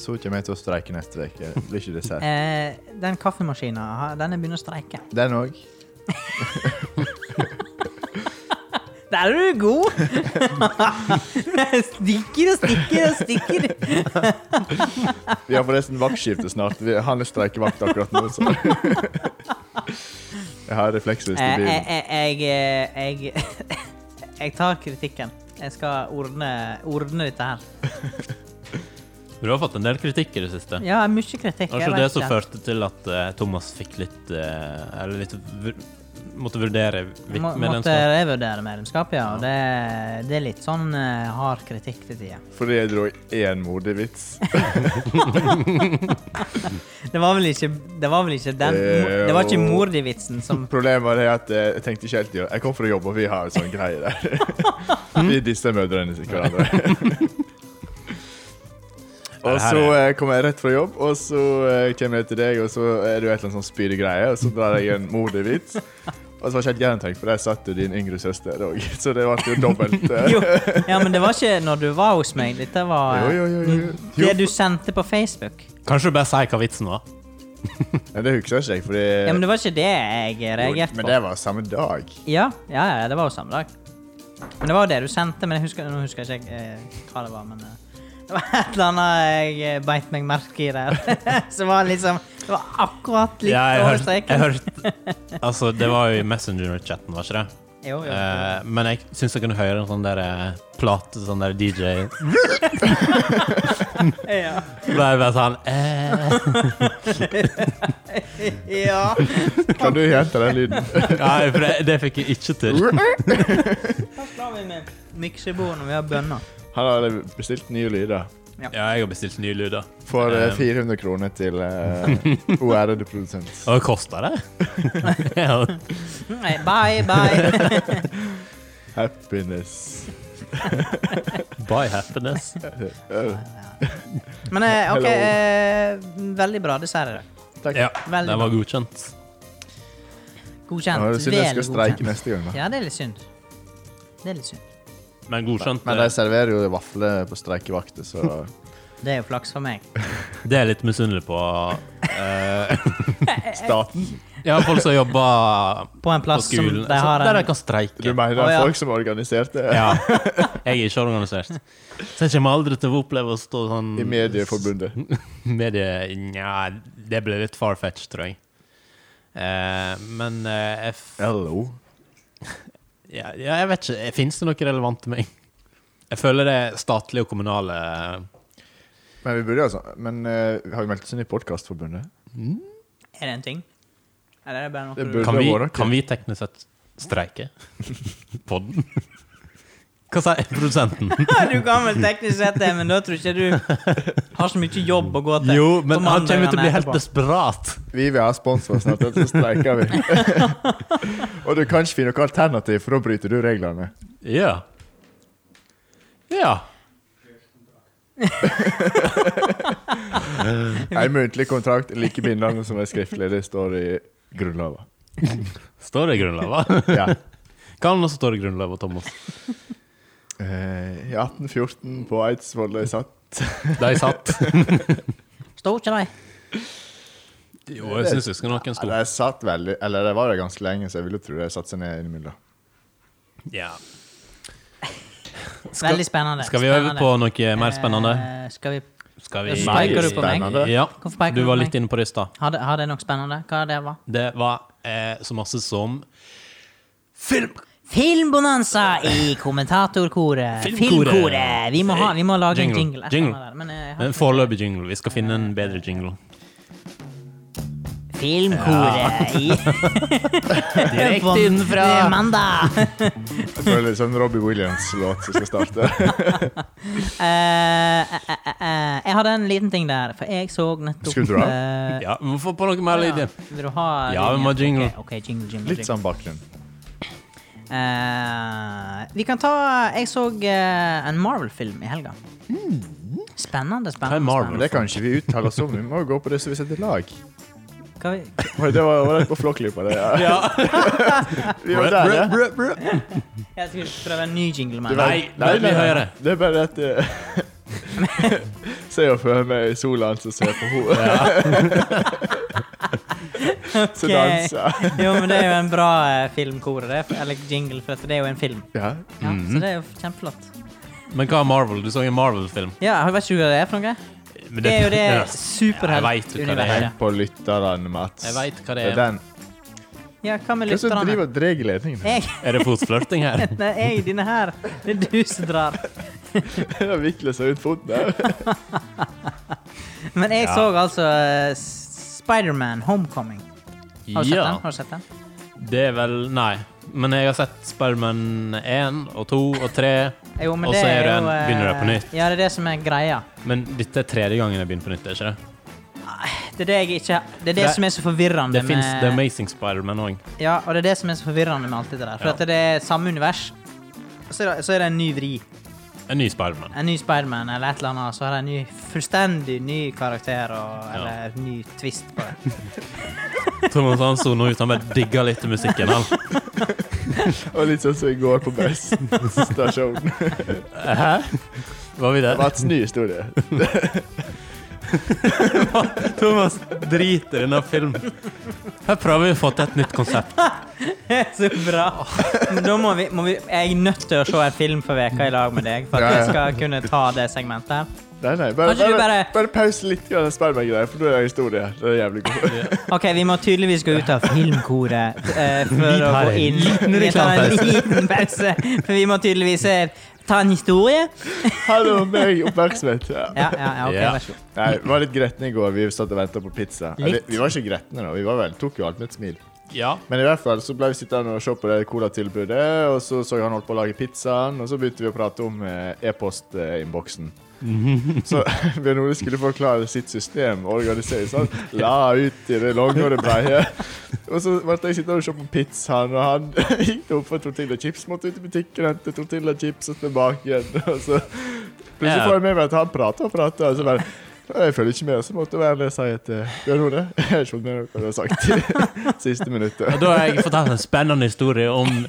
så kommer jeg til å streike neste uke. Det blir ikke dessert.
Eh, den kaffemaskinen, ha- den er begynner å streike.
Den òg.
Der er du god! stikker og stikker og stikker.
Vi har forresten vaktskifte snart. Vi, han er streikevakt akkurat nå, så Jeg har refleksvest i
Eh,
bilen.
jeg, jeg, jeg, jeg, jeg tar kritikken. Jeg skal ordne, ordne dette her.
Du har fått en del kritikk i det siste.
Ja, mye kritikk.
Det var
jeg
ikke det
vet
som
det.
førte til at eh, Thomas fikk litt eh, Eller litt vur- Måtte vurdere vidt
Må,
med den
måtte revurdere medlemskapet, ja. Og det, det er litt sånn eh, hard kritikk til tider.
Fordi jeg dro én modig vits.
Det var vel ikke, det var vel ikke den
Eh,
Det var ikke
og-
Mordi-vitsen som
Problemet var det at eh, jeg tenkte ikke helt i- Jeg kom fra jobb, og vi har en sånn greie der. Vi disser mødrene til hverandre. Og så eh, kom jeg rett fra jobb, og så eh, kommer jeg til deg, og så er du et eller annet sånn spydig greie, og så drar jeg en modig vits. Og så var ikke helt gjennomtenkt, for der satt jo din yngre søster òg, så det ble jo dobbelt. eh.
jo, ja, men det var ikke når du var hos meg. Dette var
Jo, jo, jo, jo.
Mm.
jo.
det du sendte på Facebook.
Kanskje du bare sier hva vitsen var?
Nei, det husker jeg ikke, fordi
Ja, Men det var ikke det jeg reagerte
Men
på.
det var samme dag.
Ja, ja, ja, det var jo samme dag. Men det var jo det du sendte. Men jeg husker, nå husker jeg ikke eh, hva det var. Men eh, det var et eller annet jeg eh, beit meg merke i der. Som var liksom Det var akkurat litt
Ja, jeg
over
hørte, jeg
streken.
hørte Altså, det var jo i Messenger-chatten, var ikke det?
Jo, jo.
Eh, men jeg syns jeg kunne høre en sånn der eh, plate, sånn der DJ
Ja.
Da er jeg bare sånn eh.
ja.
Kan du gjenta den lyden?
Nei, for det, det fikk jeg ikke til.
Hva slår vi med miksebord når vi har bønner?
Han hadde bestilt nye lyder.
Ja, jeg har bestilt nye lyder.
For eh,
Um.
400 kroner til uh, ærede produsent.
Og det kosta det. ja.
Nei, Bye, bye.
Happiness.
By happiness.
Eh,
Men eh, OK,
Hello.
eh, veldig bra dessert i dag.
takk.
Ja,
Veldig
den var godkjent.
Godkjent.
Nå
Vel
synes jeg skal streike
godkjent.
neste gang. Da.
Ja, det er litt synd. Det er litt synd.
Men godkjent, eh.
Men de
det,
serverer jo vafler på streikevakter, så
Det er jo flaks for meg.
det er jeg litt misunnelig på. eh,
Staten?
ja, folk som jobber
På en
på
plass som
skolen, Altså,
de har
der de
en
kan
Du
streike.
mener
Å, ja.
folk som organiserte?
Ja. Jeg er ikke organisert. Så jeg kommer aldri til å oppleve å stå sånn
I Medieforbundet.
Medie Nja, det ble litt far-fetched, tror jeg. Eh, men eh, jeg, f
Hello.
ja, ja, jeg vet ikke. Fins det noe relevant til meg? Jeg føler det er statlige og kommunale
Men vi burde jo altså Men eh, har vi meldt oss inn i Podkastforbundet?
Er det en ting? Eller er det bare noe
Det
du-
burde-
Kan vi,
våre, ikke?
kan vi teknisk sett streike? Podden? Hva sier produsenten?
Du kan vel teknisk sett det, men da tror jeg ikke du har så mye jobb å gå til.
Jo,
på
men han kommer til å
mandagene
bli helt
etterpå.
desperat.
Vi vil ha sponsor snart, ellers så streiker vi. Og du kan ikke finne noe alternativ, for da bryter du reglene.
Ja. Ja.
En muntlig kontrakt er like bindende som en skriftlig. Det står i Grunnloven.
Står det i Grunnloven?
Ja.
Kan også stå i Grunnloven, Thomas.
Eh, I 1814 på Eidsvoll er satt
De satt.
Sto ikke de?
Jo, jeg syns jeg husker noen
Ja,
sto.
De satt veldig Eller de var der ganske lenge, så jeg ville tro de satte seg ned innimellom.
Ja.
Veldig spennende.
Skal vi øve
Spennende.
på noe mer spennende?
Eh, skal vi
Skal
Ja,
vi
så peker du på meg.
Spennende.
Ja.
Hvorfor peker
Du
du på
var
meg?
litt inne på det i stad.
har det, har det nok spennende? Hva er det var?
Det var eh, så masse som Film!
Filmbonanza i kommentatorkoret.
Filmkoret.
Filmkoret! Vi må, ha, vi må lage
Jingle.
en jingle.
Jingle.
Der, men, eh, jeg har-
En foreløpig jingle. Vi skal finne en bedre jingle.
Filmkoret i
Direkte
Det er mandag!
Jeg føler det er sånn Robbie Williams-låt som skal starte.
Eh, eh, eh, eh, jeg hadde en liten ting der, for jeg så nettopp
Skulle du ha?
eh,
Ja, vi må få på noe mer lyd.
Ja. Vil du ha
Ja, vi må
linjen?
jingle.
Ok, ok, jingle, jingle,
Litt
jingle.
sånn bakgrunn.
Eh, vi kan ta Jeg så eh, en Marvel-film i helga.
Hva
Spennende,
er
spennende.
Marvel?
Men det kan ikke vi uttale oss om. Vi må gå på det som vi setter lag.
spennende. Hva vi-
Oi, det var, var det på Flåklypa, det. Ja.
Ja.
Vi var der, ja.
Jeg skulle prøve en ny jingle.
Du
Men.
vet-
Nei, nei, vi hører.
Det er bare det at eh, Se og føl meg i sola altså, som ser på henne. Som
Ok.
danser.
jo, men det er jo en bra eh, filmkore, det. for- Eller jingle, for at det er jo en film.
Ja.
Ja,
Mhm.
Så det er jo kjempeflott.
Men hva er Marvel? Du så en Marvel-film.
Ja, jeg vet ikke hva det er for noe.
Men
Det er jo det
Jeg vet jo hva det er.
Tenk
superheltuniverset.
på lytterne, Mats.
Jeg vet hva det
Det er
er.
den.
Ja, hva med
Hvem som driver
lytterne?
og drar ledningen?
Jeg,
Er det fotflørting her?
nei, jeg, dine her. Det er du som drar.
Jeg vikler seg ut foten der.
Men jeg
Ja.
så altså eh, S- Spiderman Homecoming. Har du sett den? Har du sett den?
Det er vel Nei. Men jeg har sett Spiderman 1 og 2 og 3.
Jo, men
Og
det
så er
er
det en-
jo eh,
begynner det på nytt.
Ja, det er det som er greia.
Men dette er tredje gangen jeg begynner på nytt. er ikke Det
Det er det, jeg ikke, det, er det
Det-
som er så forvirrende
Det finnes The
med
Amazing Spiderman òg.
Ja, og det er det som er så forvirrende med alt det der. For
Ja.
at det er samme univers. Og Så er, det, så er det en ny vri.
En ny Spiderman.
En ny Spiderman eller et eller annet. Så er det en ny, fullstendig ny karakter og, eller ny twist på det.
Thomas han så nå ut. Han bare digga litt musikken. Han.
Og litt sånn som i går på Best stasjon.
Hæ? Var vi der?
Mats, ny historie.
Thomas driter i denne filmen. Her prøver vi å få til et nytt konsept.
så bra! Men da må vi, må vi Jeg er nødt til å se en film for veka i lag med deg for
Ja,
at
ja.
jeg skal kunne ta det segmentet her.
Nei, nei, bare,
Kanskje du
bare, bare,
bare-
pause litt grann den Sperma-greia, for nå er det historie. her. Det er jævlig god.
Ok, vi må tydeligvis gå ut av filmkoret eh, for å
tar
gå
en
inn.
liten
Vi tar en
reklamepause.
liten pause, for vi må tydeligvis eh, ta en historie.
Hallo, meg, oppmerksomhet. Ja.
Ja, ja, ja ok,
Ja.
vær så god.
Nei, vi var litt gretne i går. Vi satt og venta på pizza. Eller,
Litt.
vi var ikke gretne, da. Vi var vel, tok jo alt med et smil.
Ja.
Men i hvert fall så ble vi sittende og se på det colatilbudet, og så så jeg han holdt på å lage pizzaen, og så begynte vi å prate om eh, e-postinnboksen. Så Bjørn Ole skulle forklare sitt system og organisere sånn. La ut i det lange og det breie. Og så ble jeg sittende og se på pizzaen, og han gikk opp for tortilla chips, måtte ut i butikken, hente tortilla chips og tilbake igjen. Og så plutselig
Ja.
får jeg med meg at han prater og prater, og så bare jeg følger ikke med, så måtte jeg være si at eh, Bjørn Ole, jeg har ikke fått med meg hva du har sagt. Siste minuttet.
Og Da har jeg fortalt en spennende historie om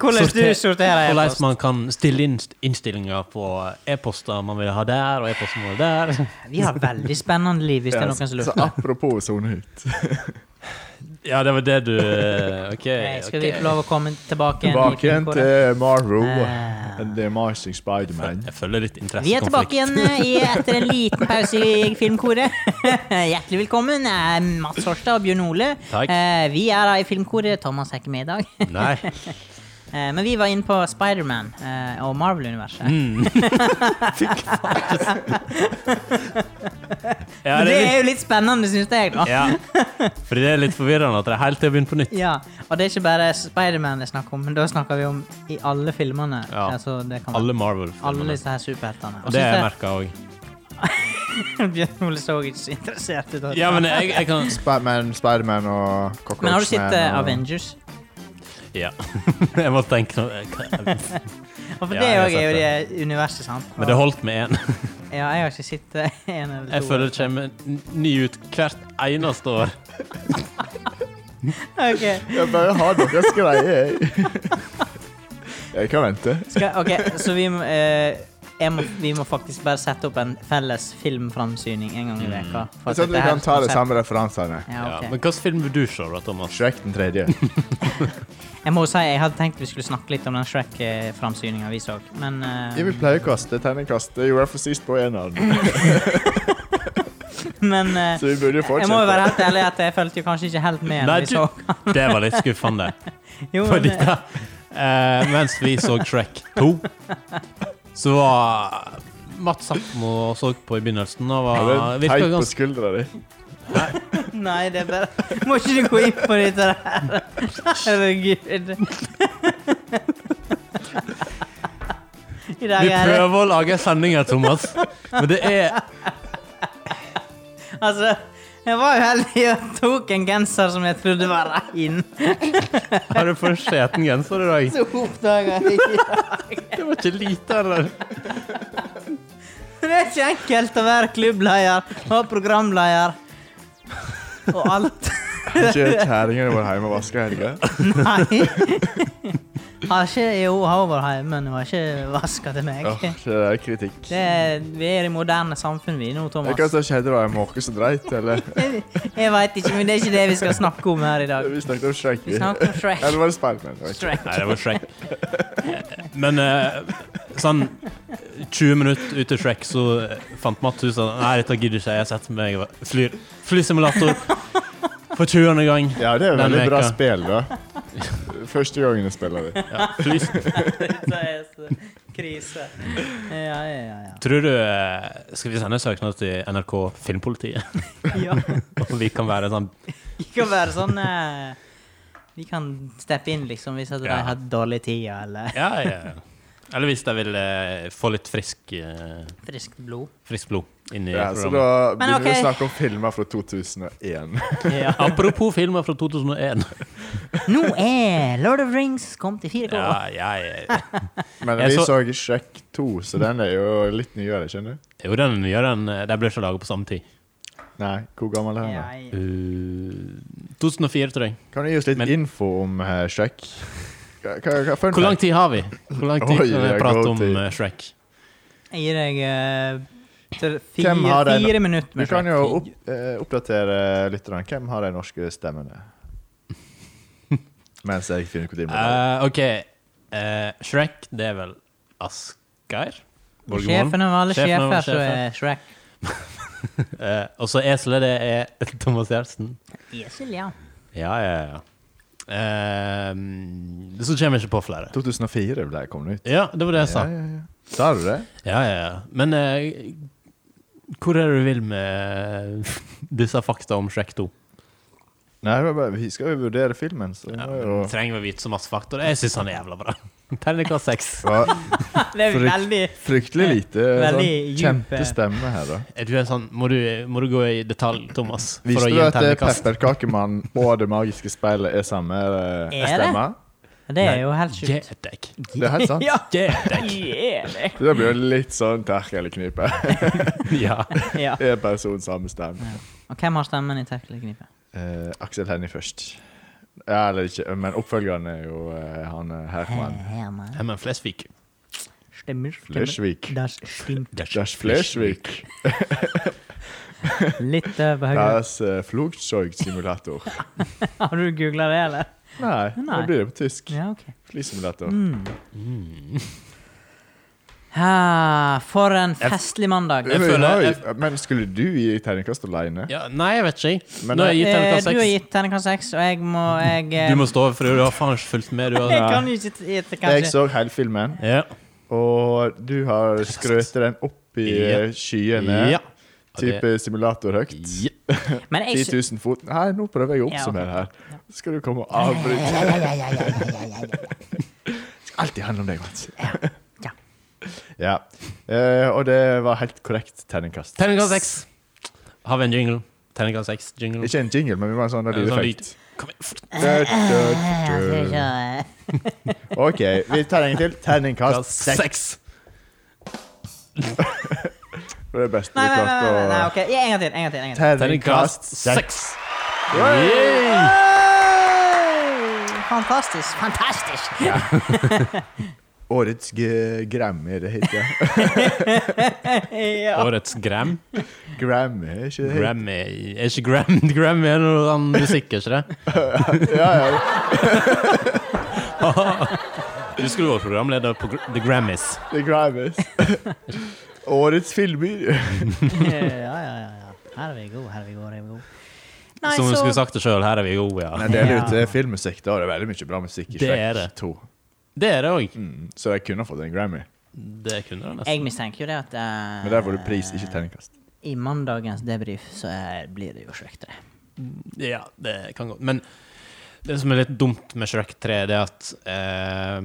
Hvordan du
Sorter-
sorterer
hvordan
e-post?
man kan stille inn innstillinger på e-poster man vil ha der, og e-poster man vil ha der.
Vi har veldig spennende liv, hvis det er
Ja,
noen som
så
lurer.
apropos sone ut.
Ja, det var det du eh, OK.
Nei, Skal vi
ok.
få lov å komme tilbake igjen? i
Tilbake igjen
filmkoret?
til Marvel.
Ah.
and The Amazing Spiderman.
Jeg føler litt
Vi er
interessekonflikt.
tilbake igjen eh, i, etter en liten pause i Filmkoret. Hjertelig velkommen. Jeg er Mats Horstad og Bjørn Ole.
Takk.
Eh, Vi er her i Filmkoret. Thomas er ikke med i dag.
Nei.
Eh, Men vi var inne på Spiderman eh, og Marvel-universet.
Mm. Ja,
Men
det
det
er
er
litt,
jo litt spennende, syns jeg. da.
ja. Fordi det er litt forvirrende at det er helt til å begynne på nytt.
Ja, Og det er ikke bare Spiderman det er snakk om, men da snakker vi om i alle filmene.
Ja.
Altså, det kan være
Alle
alle
Marvel-filmene.
disse her superheltene. Og
Det er jeg
synes
merka òg.
jeg- Bjørn Ole så ikke så interessert ut. av det.
Ja, men jeg, jeg kan
Spiderman, Spiderman og Cockroach
men har du sett eh,
Man og-
Avengers?
Ja. Jeg må tenke noe
Og for
Ja,
det
jeg har
òg er jo
sett
det universet, sant?
Men det holdt med én.
Ja, jeg har ikke sett eh, en eller to.
Jeg føler det kommer n- ny ut hvert eneste år.
Ok,
Jeg bare har deres greie, jeg. Jeg kan vente.
Skal, ok, så vi må, eh, jeg må, vi må faktisk bare sette opp en felles filmframsyning en gang i veka. for at
Sånn at vi
dette her
kan ta de
skal-
samme referansene.
Ja,
Mm. Ja,
ok.
men hvilken film vil du se, da, Thomas?
Shrek den tredje.
Jeg må jo si, jeg hadde tenkt vi skulle snakke litt om den Shrek-framsyninga vi så, men eh,
Jeg vil pleie å kaste terningkast. Det gjorde jeg for sist på en av dem.
Men eh,
Så vi burde jo
jeg må
fortsette.
jo være helt ærlig at jeg følte jo kanskje ikke helt med
Nei,
når vi
du-
så
Det var litt skuffende.
jo,
For
men,
dette, eh, mens vi så Shrek 2, så var Mats satt nå og så på i begynnelsen og
Ja,
var,
det er
virka
Teit på
ganske
skuldra di.
Nei, det er bare Må ikke du gå inn på dette her? Herregud. I dag
Vi
er det
prøver å lage sendinger, Thomas, men det er
Altså, Jeg var jo heldig og tok en genser som jeg trodde var rein.
Har du for skjeten genser i dag?
Så oppdaga jeg ikke
Det var ikke lite, eller?
Det er ikke enkelt å være klubbleder og programleder og alt.
Ikke kjerringene våre hjemme og vasker heller.
Nei. Har ikke Jo, har vært hjemme, men hun har ikke vaska til meg.
Åh, det er kritikk.
Det, er- vi er i det moderne samfunn vi nå,
Det kan
Thomas.
ikke skjedde da jeg måke så dreit, eller?
Jeg veit ikke, men det er ikke det vi skal snakke om her i dag.
Vi snakket om Shrek.
Vi snakker om Shrek.
Eller var det Spiderman? Jeg vet ikke.
Shrek.
Nei, det var Shrek. Men eh, sånn 20 minutter ut til Shrek, så eh, fant Matt ut at nei, dette gidder ikke jeg. Jeg setter meg og flyr. Flysimulator for 20. gang.
Ja, det er et
Den
veldig bra
veka.
spill, da. Første gangen jeg spiller det.
Flys.
Dette er så krise. Ja, ja, ja. ja.
Tror du eh, Skal vi sende søknad til NRK Filmpolitiet?
ja.
Og vi kan være sånn
Vi kan være sånn eh, Vi kan steppe inn liksom hvis at de
Ja.
har dårlig tid eller
Ja, ja. ja. Eller hvis de vil eh, få litt frisk, eh,
friskt blod.
friskt blod inn i
Ja, så da
programmet.
begynner vi
ok.
å snakke om filmer fra 2001.
Ja.
Apropos filmer fra 2001.
Nå er Lord of the Rings kommet i 4K.
Ja, jeg
Men
Jeg
vi
så-
så Shrek 2, så den er jo litt nyere, skjønner du?
Jo, den nyere enn De ble ikke laget på samme tid. Eh,
Nei, hvor gammel er den?
Ja,
da?
ja.
Uh, 2004, tror jeg.
Kan du gi oss litt
Men-
info om eh, Shrek? Hva, hva, hva fun
Hvor lang
fact?
tid har vi? Hvor lang tid
Oi,
kan
det
vi
er
prate
god
om
tid.
eh, Shrek?
Jeg gir deg eh, tre-
Hvem
fire,
har den-
fire minutter
Vi
med
kan
Shrek.
jo opp, eh, oppdatere lytterne. Hvem har de norske stemmene? Mens jeg finner ut hvor de må være.
Eh, OK. eh, Shrek, det er vel Asgeir? Borgermoen?
Sjefen av alle
Sjefen av
sjefer,
alle
så er Shrek.
Eh, og så eselet, det er Thomas Gjertsen.
Esel, ja.
Ja, ja, ja. Eh, så kommer jeg ikke på flere.
2004 ble jeg kommet ut.
Ja, det var det jeg sa.
Ja, ja, ja. Sa du det?
Ja, ja, ja. Men eh, hvor er det du vil med disse fakta om Shrek 2?
Nei, det var bare, vi skal jo vurdere filmen, så det
Ja,
må jo
trenger vi vite så masse fakta? Jeg syns han er jævla bra. Terningkast seks.
Ja,
Det er
Frykt-
veldig
Fryktelig lite sånn,
Veldig djup,
kjente
eh.
stemme her, da.
Er du en sånn, må, du, må du gå i detalj, Thomas? For
Visste
å gi
du
en
at eh,
terningkast?
Pepperkakemannen og Det magiske speilet er samme eh,
Er det?
stemme?
Det er
Nei.
jo helt sjukt.
Get deg.
Det er helt sant.
Ja.
Get deg.
Yeah.
Det blir jo litt sånn terkelknipe.
Ja.
ja.
En person, samme stemme.
Og hvem har stemmen i Terkelknipet?
Eh, Aksel Hennie først. Ja, eller ikke, men oppfølgeren er jo eh, han eh, Herman
Herman.
Herman Flesvig.
Stemmer. stemmer.
Flesvig.
Das stimmt.
Das Flesvig.
Litt over høyre.
Das eh, Flugzeugsimulator.
Har du googla det, eller?
Nei,
Nei.
nå blir det på tysk.
Ja, ok.
Flysimulator.
Ah, for en festlig mandag.
Jeg
Men,
føler-
har jo- men skulle du gi terningkast alene?
Ja, nei, jeg vet ikke.
Men
Nå har jeg gitt
Eh,
terningkast
du har
seks.
gitt terningkast seks, og jeg må jeg, eh,
Mm. Du må stå over, for du har faen ikke fulgt med, du.
Jeg
Har,
kan jo ikke t- gjette,
Jeg
kanskje.
så hele filmen,
ja.
og du har skrøtet den opp i
Ja.
eh, skyene.
Ja.
Type simulatorhøyt.
Ja.
Men jeg
10
sy-
000 fot Nei, nå prøver jeg å
Ja, Eh.
oppsummere her. Så skal du komme og avbryte.
Ja, ja, ja, ja, ja, ja, ja, ja.
Det skal alltid handle om deg, Mats.
Ja.
Ja. Eh, og det var helt korrekt terningkast.
Terningkast seks. Har vi en jingle? Terningkast seks, jingle.
Ikke en jingle, men vi må ha en sånn
En sånn
lydeffekt.
Kom igjen.
Jeg ser ikke, eh,
OK, vi tar en til. Terningkast seks.
Seks.
Det var det beste
Nei,
vi
nei, nei, nei, nei,
klarte å
ok. Ja, En gang til. en gang til, en gang til.
Terningkast
Terningkast seks.
seks.
Yay!
Hey! Fantastisk. Fantastisk.
Årets g- Grammy, det heter det.
Ja.
Årets Gram.
Grammy, er ikke det?
Grammy Er ikke Gram Grammy er noe sånn musikk, er ikke det?
Ja, ja.
Du skulle vært programleder på Gr- The Grammys.
Det er Grammys. Årets filmer.
ja, ja, ja, ja. Her er vi gode, her er vi gode. Her er vi gode. Nei,
Som du
så-
skulle sagt det sjøl, her er vi gode, ja.
Jeg deler
Ja.
ut eh, filmmusikk. Da er det veldig mye bra musikk i
Det er
Shrek
det.
2.
Det er det òg.
Mm, så jeg kunne fått en Grammy.
Det kunne han nesten.
Jeg mistenker jo det at eh,
Men der var det pris, ikke terningkast.
I mandagens debrief så eh, blir det jo Shrek 3.
Ja, det kan gå. Men det som er litt dumt med Shrek 3, det er at eh,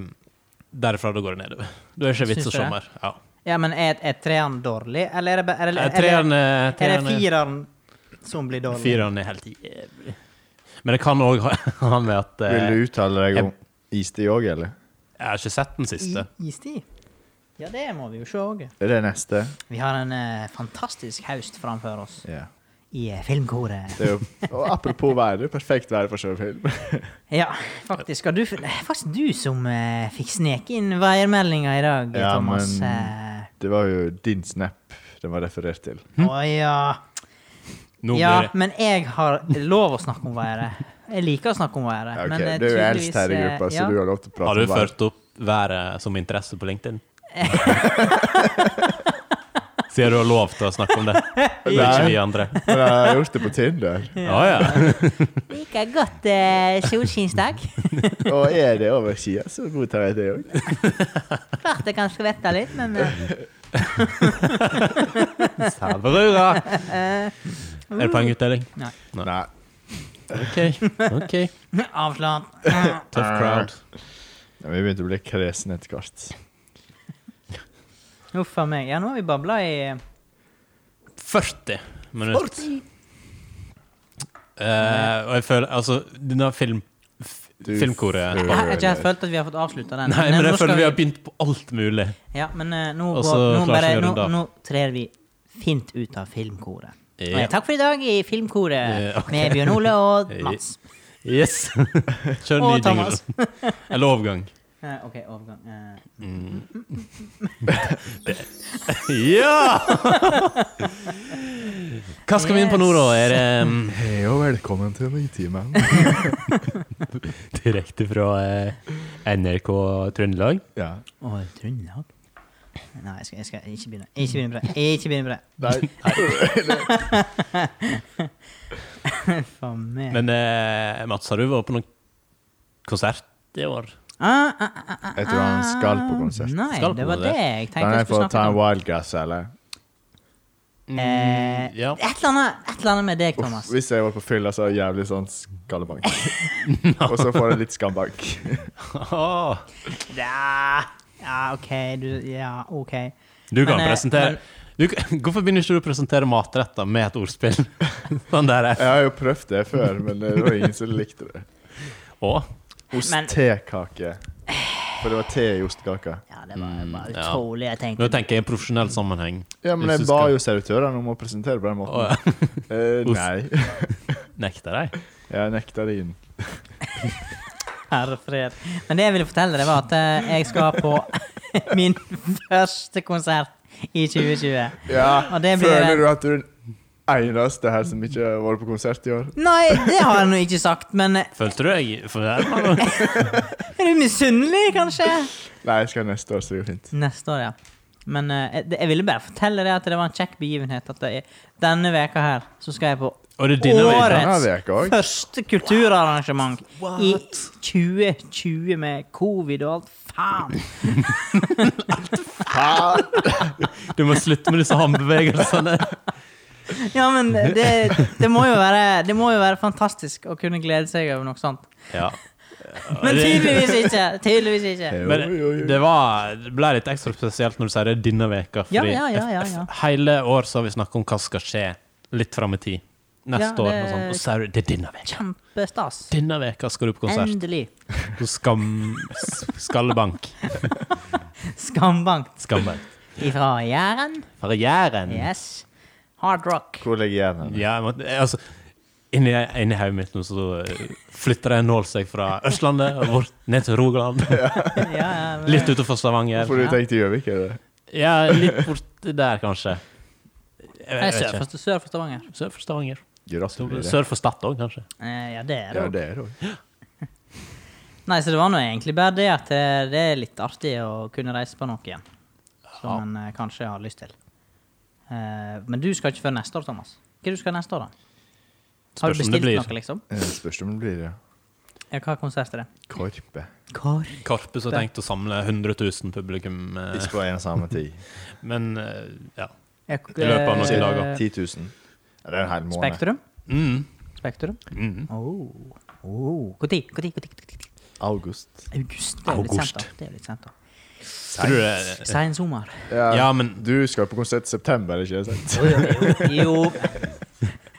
derfra da går det nedover. Da er det ikke vits
Syns
å
du det?
sommer. Ja.
Ja, men er, er treeren dårlig, eller er det, ba- er det,
Eh,
er det,
Treeren er
er det
treeren er-
fireren Som blir dårlig.
Fireren er helt jævlig. Men det kan òg ha med at eh,
Vil du uttale deg
jeg-
om iste òg, eller?
Jeg har ikke sett den
I,
siste.
isti. Ja, det må vi jo se òg.
Er det neste?
Vi har en eh, fantastisk høst framfor oss
Ja.
i eh, Filmkoret.
Det er jo, og apropos vær, det er perfekt vær for sjøfilm.
Ja, faktisk. Og du, det er faktisk du som eh, fikk sneke inn værmeldinga i dag,
Ja,
Thomas.
men-
Eh,
Det var jo din snap den var referert til.
Å ja.
Nå blir
ja,
det
men jeg har lov å snakke om været. Jeg liker å snakke om været.
Ja, ok,
men eh,
Du er jo
tydeligvis,
eldst her i
eh,
gruppa, så
ja.
du har lov til å prate
Har du
om vær.
ført opp været som interesse på LinkedIn? Siden du har lov til å snakke om det. Og ikke
Nei.
vi andre.
Men jeg har gjort det på Tinder.
Å ja.
Liker godt eh, solskinnsdag.
Og er det over skia, så godtar jeg det òg.
Klart jeg kan skvette litt, men eh,
Sæverura! Er det poengutdeling?
Nei.
OK. ok.
avslørt.
Tough
Ah.
crowd.
Ja, Vi begynte å bli kresne etter hvert.
Huff a meg. Ja, nå har vi babla i
40 minutter. Eh, og jeg føler Altså, denne film, f-
Du
filmkoret
føler-
Jeg har ikke helt følt at vi har fått avslutta den.
Nei, men
nå
jeg
skal
føler vi har begynt på alt mulig.
Ja, men eh, nå,
Og
går,
så
nå,
klarer
bare,
vi å
nå,
runde av.
nå trer vi fint ut av filmkoret. Og,
Ja.
eh, takk for i dag i Filmkoret
Ja, ok.
med Bjørn Ole og Mats.
Yes. Kjør
Og
ny jingle.
Thomas.
Eller overgang.
Eh, OK, overgang. Eh,
Ja! Hva skal vi inn på nå, da? Er det mm,
Hei og velkommen til Nytimen.
direkte fra eh, NRK Trøndelag?
Ja.
Å, Trøndelag? Nei, jeg skal, jeg skal ikke begynne. Ikke begynne på det. Ikke begynne på det.
Nei.
Faen meg.
Men eh, Mats, har du vært på noen konsert i år?
Ah, ah, ah, ah,
Jeg tror han skal på konsert.
Nei,
Skal på
det var det
konsert.
jeg
Kan
tenkte jeg
jeg få
skulle
ta
snakke
en
om.
wild guess, eller?
Eh,
ja.
et, eller annet, et eller annet med deg, Thomas.
Uff, hvis jeg var på fylla, så er det jævlig sånn skallebank. Og så får jeg litt skambank.
Åh.
Ja, ja, OK. Du, ja, OK.
Du kan
Men, eh,
presentere
men-
du, kan- Hvorfor begynner ikke du å presentere matretter med et ordspill? sånn der
Jeg har jo prøvd det før, men det var ingen som likte det.
Å?
Men-
Ostekake. For det var te i ostekaka.
Ja, det
Mm,
var bare
ja.
utrolig. Jeg tenkte
Nå tenker jeg i profesjonell sammenheng.
Ja, men
Hvis
jeg
du
ba
skal-
jo servitørene om å presentere på den måten.
Å, ja.
Eh, nei.
Nekter jeg?
Jeg nekta det inn.
Herre fred. Men det jeg ville fortelle deg, var at eh, jeg skal på min første konsert i 2020.
Ja,
Og det blir
Føler
en-
du at du er den eneste her som ikke har vært på konsert i år?
Nei, det har jeg nå ikke sagt, men eh,
Følte du deg fornærma nå?
er du misunnelig, kanskje?
Nei, jeg skal neste år, så det går fint.
Neste år, ja. Men eh, det- jeg ville bare fortelle deg at det var en kjekk begivenhet. At det er, denne veka her så skal jeg på
Og det er dine øyne.
Denne
årets
veka også?
første kulturarrangement i
What?
2020 med covid og alt. Faen!
Du må slutte med disse håndbevegelsene.
Ja, men det, det, må jo være, det må jo være fantastisk å kunne glede seg over noe sånt.
Ja.
Men tydeligvis ikke! Tydeligvis ikke.
Jo,
Men
jo, jo.
det, var, det ble litt ekstra spesielt når du sier det denne veka.
Ja,
fordi
ja, ja, ja, ja.
Hele år så har vi snakket om hva skal skje litt fram i tid. Neste
Ja, det-
år og sånn. Og så sier du det er denne veka.
Kjempestas.
Denne veka skal du på konsert.
Endelig.
På skam... s- Skallebank.
Skambankt
Skambank.
ifra Jæren.
Fra Jæren.
Yes. Hard rock.
Hvor ligger hjernen?
Ja, jeg måtte- jeg- altså Inni, inni hodet mitt nå så eh, flytter det en nål seg fra Østlandet og bort ned til Rogaland.
Ja, ja, men-
Litt utenfor Stavanger.
For du tenkte Gjøvik, er det?
Ja, litt borti der, kanskje. Jeg,
Nei,
jeg
Sør
vet ikke.
for, sør for Stavanger.
Sør for Stavanger.
Gratulerer.
Sør for Stad òg, kanskje.
Eh, ja, det er det.
Ja,
også.
det er det òg.
Nei, så det var nå egentlig bare det at eh, det er litt artig å kunne reise på noe igjen. Som
Ja.
en eh, kanskje har lyst til. Eh, men du skal ikke før neste år, Thomas. Hva er det du skal neste år, da? Har du
Spørs om det
bestilt
blir.
noe, liksom?
Spørs om det Eh, blir det.
Ja, hva konsert er det?
Korpe.
Kor.
Karpe som har tenkt å samle 100 000 publikum. eh,
Ikke på en og samme tid.
Men eh, ja.
I
løpet av noen
Cirka
dager.
10 000. Eh, Ja, Det er en hel måned.
eh, Spektrum?
Mm.
Spektrum?
Mm.
Oh. Oh. Hvor tid? Hvor tid? Hvor tid? Hvor tid?
August.
August. Det er jo litt
August. Eh.
sent, da. Det er jo litt sent, da.
Tror du det
Sein sommer.
Ja, men
Du skal på konsert i september, ikke sant?
Jo, jo, jo.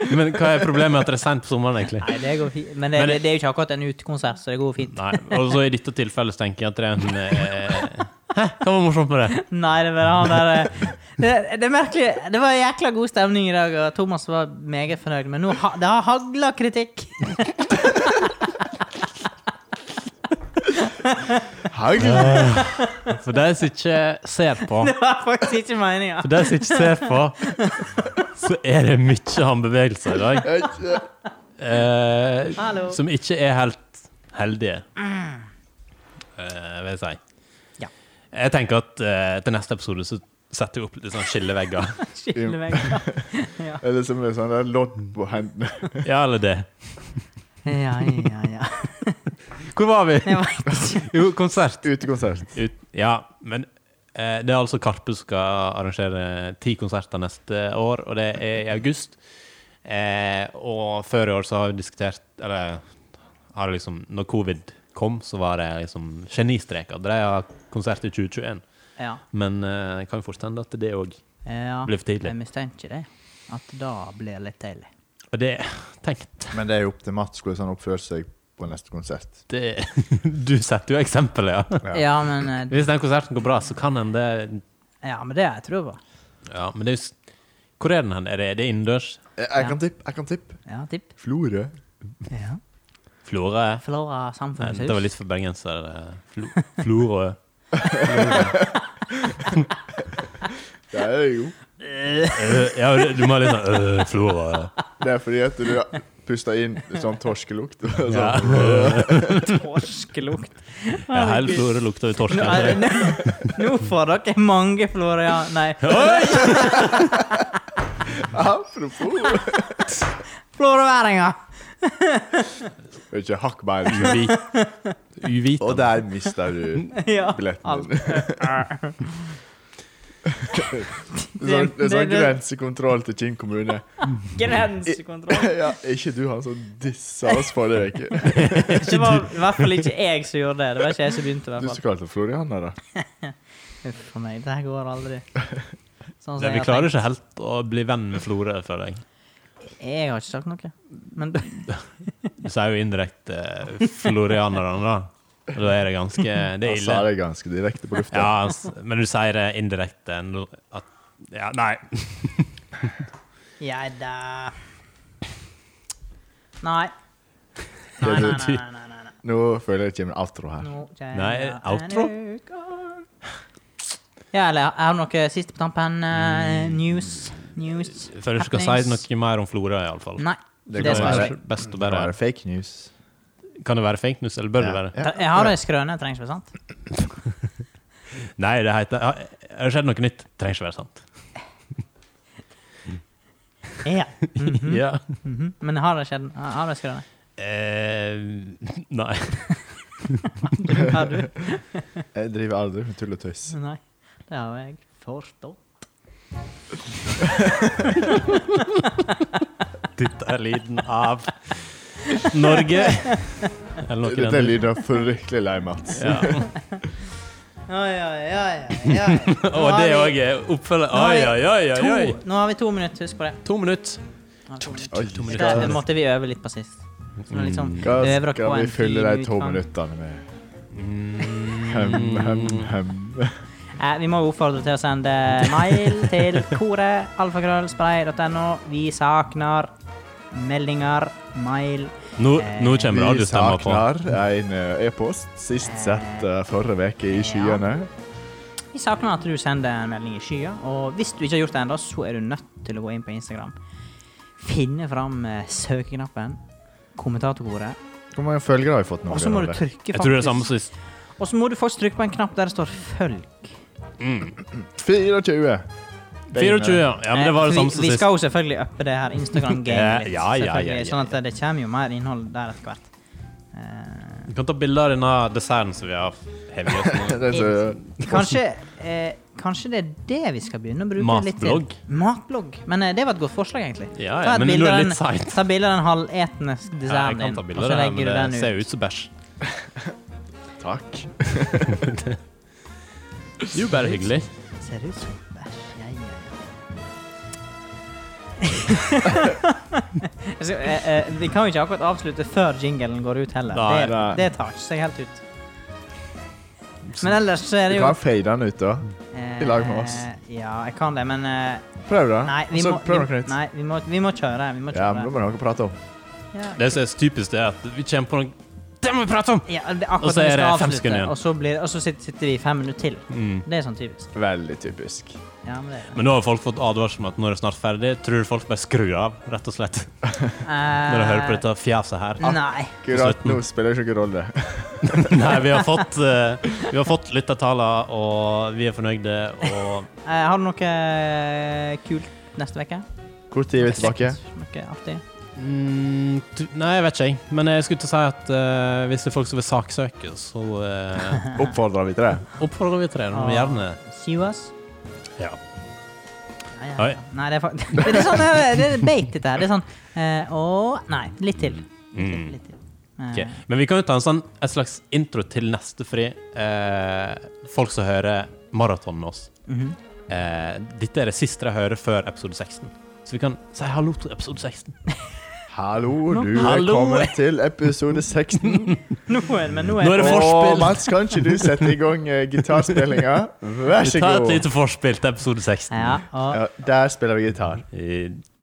Men hva er problemet med at det er sent på sommeren, egentlig?
Nei, det går fint. Men det,
Men
det,
det-
det er jo ikke akkurat en utekonsert, så det går fint.
Nei, og så i dette tilfellet så tenker jeg at det er en eh, Hæ, hva var morsomt med det?
Nei, det var han der eh, det, det, er merkelig, det var jækla god stemning i dag, og Thomas var meget fornøyd, men nå ha, det har hagla kritikk.
Hagl!
For de som ikke ser på,
Det var faktisk ikke meninga.
for de som ikke ser på, så er det mye håndbevegelser i dag eh,
Hallo.
som ikke er helt heldige, eh, vil jeg si.
Ja.
Jeg tenker at eh, til neste episode så setter vi opp litt sånn skillevegger.
Skille meg.
Eller som er sånn der lodd på hendene.
Ja, eller det.
Ja, ja, ja.
Hvor var vi?
Jeg vet ikke.
Jo, konsert.
Utekonsert.
Ut, ja, men eh, det er altså Karpe som skal arrangere ti konserter neste år, og det er i august. Eh, og før i år så har vi diskutert Eller har det liksom Når covid kom, så var det liksom genistrek at de har konsert i 2021.
Ja.
Men eh, kan jo fort hende at det òg
ja.
blir for tidlig.
Jeg mistenker det. At da blir det litt tidlig.
Og det Tenkt
Men det er jo opp til Mats hvordan han oppfører seg på neste konsert.
det, Du setter jo eksempelet, ja.
Ja.
Ja, men, eh,
Hvis den konserten går bra, så kan en det
ja, men det har jeg tro på.
Ja, men det er jo s- Hvor er den hen? Er det, er det innendørs?
Jeg, jeg kan tippe. Jeg kan tippe.
Ja, tipp.
Florø.
Ja.
Florø? er-
Flora
Nei, dette var
samfunnshus.
litt for bergenser. eh, Flo Florø.
Det er det jo.
Eh, ja, du- du må ha litt sånn øh, Florø.
Det er fordi at du puster inn sånn torskelukt. og
Ja.
sånn.
Torskelukt.
ja, hele Florø lukter jo torsk.
Nei,
altså.
Nå, nå får dere mange Flora... Ja, nei.
Oi!
Apropos
Floraværinger!
Det er Ikke hakk bein.
Uvi-
Og
Uvitende.
der mister du
Ja.
billetten
alt.
din. Det er sånn, det er sånn grensekontroll til Kinn kommune.
Grensekontroll.
Ja, ikke du han som dissa oss forrige uke.
Det var i hvert fall ikke jeg som gjorde det. Det var ikke jeg som begynte. i
Du
hvert
som
fall.
kalte Floriana, da.
Uff a meg, det her går aldri. Sånn som
Nei,
jeg
vi
har
klarer
tenkt.
ikke helt å bli venn med Florø, føler jeg.
Jeg har ikke sagt noe. Men du
Du sier jo indirekte eh, florianerne, da. Og Da er det ganske Det er
Han sa
ille.
det ganske direkte på lufta.
Ja, s- men du sier det indirekte no- at Ja, nei.
Ja da. Nei. Nei,
Det
nei,
er
nei. nei, nei, nei, nei.
Nå føler jeg det kommer en outro her.
Nå kjenner
Nei,
jeg
outro?
en ugang. Ja, eller er det noe siste på tampen?
Mm.
eh, news? News?
Før du skal si
happenings?
noe mer om Florø, iallfall.
Nei.
Det
Det,
kan
skal jeg
være.
ikke.
kanskje best å
Nå er
bare
det fake news.
Kan det være fake news, eller bør det
Ja.
være?
Ja.
Jeg har ei skrøne, jeg trenger ikke være sant.
Nei, det heter Har har det skjedd noe nytt? Trenger ikke være sant.
Ja.
Ja.
Mhm. Men har det skjedd? Har det skrøne?
Eh, nei.
Har du?
Jeg driver aldri med tull og tøys.
Nei, det har jeg forstått.
Dette er lyden av Norge. Eller noe i den
Dette
duren.
lyder fryktelig lei, Mats.
Ja.
Oi, oi, oi, oi, oi. Nå
Og
har
det
vi
òg er oppfølger. Oi, oi, oi, oi, oi.
To, nå har vi to minutter, husk på det.
To minutter.
Nå har vi to minutter.
Oi,
Det
hva
måtte vi øve litt på sist. Så nå liksom,
hva
øver dere
Mm. skal
på
vi
en
fylle
fin
de to
utgang. Mm.
minuttene med?
Mm.
Hem, hem, hem.
Eh, vi må jo oppfordre til å sende mail til koret alfakrøllspray.no. Vi savner meldinger, mail
Nå, nå kommer
Vi
radiostemma på.
savner en eh, e-post, sist sett eh, forrige uke i skyene.
Vi savner at du sender en melding i skya, og hvis du ikke har gjort det ennå, så er du nødt til å gå inn på Instagram. Finne fram eh, søkeknappen, kommentatorkoret,
Hvor mange følgere har vi fått nå?
og så må
Bjørn
du
Arne?
trykke
Jeg tror det er samme
faktisk
sist.
Og så må du faktisk trykke på en knapp der det står 'følg'.
24.
24, ja. ja. Men det var
Eh,
det samme
vi-
som
Vi
sist.
skal jo selvfølgelig uppe det her Instagram-gamet litt,
Ja, ja, ja,
selvfølgelig,
ja, ja.
sånn at det kommer jo mer innhold der etter hvert. Eh,
Vi kan ta bilder av denne desserten som vi har hevet i oss nå.
Det er så,
Kanskje, eh, kanskje det er det vi skal begynne å bruke litt til.
Matblogg.
Matblogg. Men eh, det var et godt forslag, egentlig.
Ja, ja,
Ta et
men
bilde
nå er
av
det
den-
litt seint.
Ta bilde av den halvetende
Ja, jeg
desserten
kan
din,
ta
og
bilder
så
av det,
legger du
men
den
det
ut.
ser jo ut som bæsj.
takk.
Det er jo bare hyggelig.
Ser ut som bæsj. Ja, ja, ja. Altså, eh, eh, vi kan jo ikke akkurat avslutte før jinglen går ut heller.
Nei,
det,
nei.
det tar ikke seg helt ut. Men ellers så er
Du
det jo
kan fade den ut, da.
eh,
i lag med oss.
Ja, jeg kan det, men eh,
Prøv, da.
Nei, vi
Og så
må,
prøv
vi,
noe nytt.
nei vi, må, vi må kjøre. Vi må
Ja, men Da
kjøre.
må dere prate om.
Ja,
Det som er så typisk, det er at vi kommer på noe Det må vi prate om!
ja, det er
Og
akkurat
så
når vi
er det fem
skal avslutte,
sekunder igjen.
Og så, blir, og så sitter, sitter vi fem minutter til.
Mm.
Det er sånn typisk.
Veldig typisk.
Ja, men det er det.
Men nå har folk fått advarsel om at nå er det snart ferdig. Tror du folk bare skrur av, rett og slett, når de hører på dette fjaset her?
Eh, Nei.
Akkurat
Slutten.
nå spiller det ikke noen rolle.
Nei, vi har fått, eh, vi har fått lyttertaler, og vi er fornøyde, og
Eh, har du noe eh, kult neste uke?
Hvor tid er vi tilbake?
Noe artig?
mm, t- Nei, jeg vet ikke, jeg. Men jeg skulle til å si at eh, hvis det er folk som vil saksøke, så eh,
Oppfordrer vi til det?
oppfordrer vi til det. Nå må vi gjerne
Sue us?
Ja.
Nei, ja.
Oi.
nei det er faktisk Det er sånn eh, det er bait, dette her. Det er sånn eh, Å Nei, litt til. Litt til.
Mm.
Litt til. Eh,
Ok, Men vi kan jo ta en sånn, et slags intro til neste fri. Eh, folk som hører maraton med oss.
mhm.
Eh, dette er det siste jeg hører før episode 16. Så vi kan si hallo til episode 16.
Hallo, du er
Hallo.
kommet til episode 16.
Nå er det men nå
Nå er
er
det
det
Og
forspill.
Mats, kan ikke du sette i gang eh, gitarspillinga? Vær
Vi
så
tar et
god.
lite forspill til episode 16.
Ja, og
Ja, der spiller vi gitar.
I-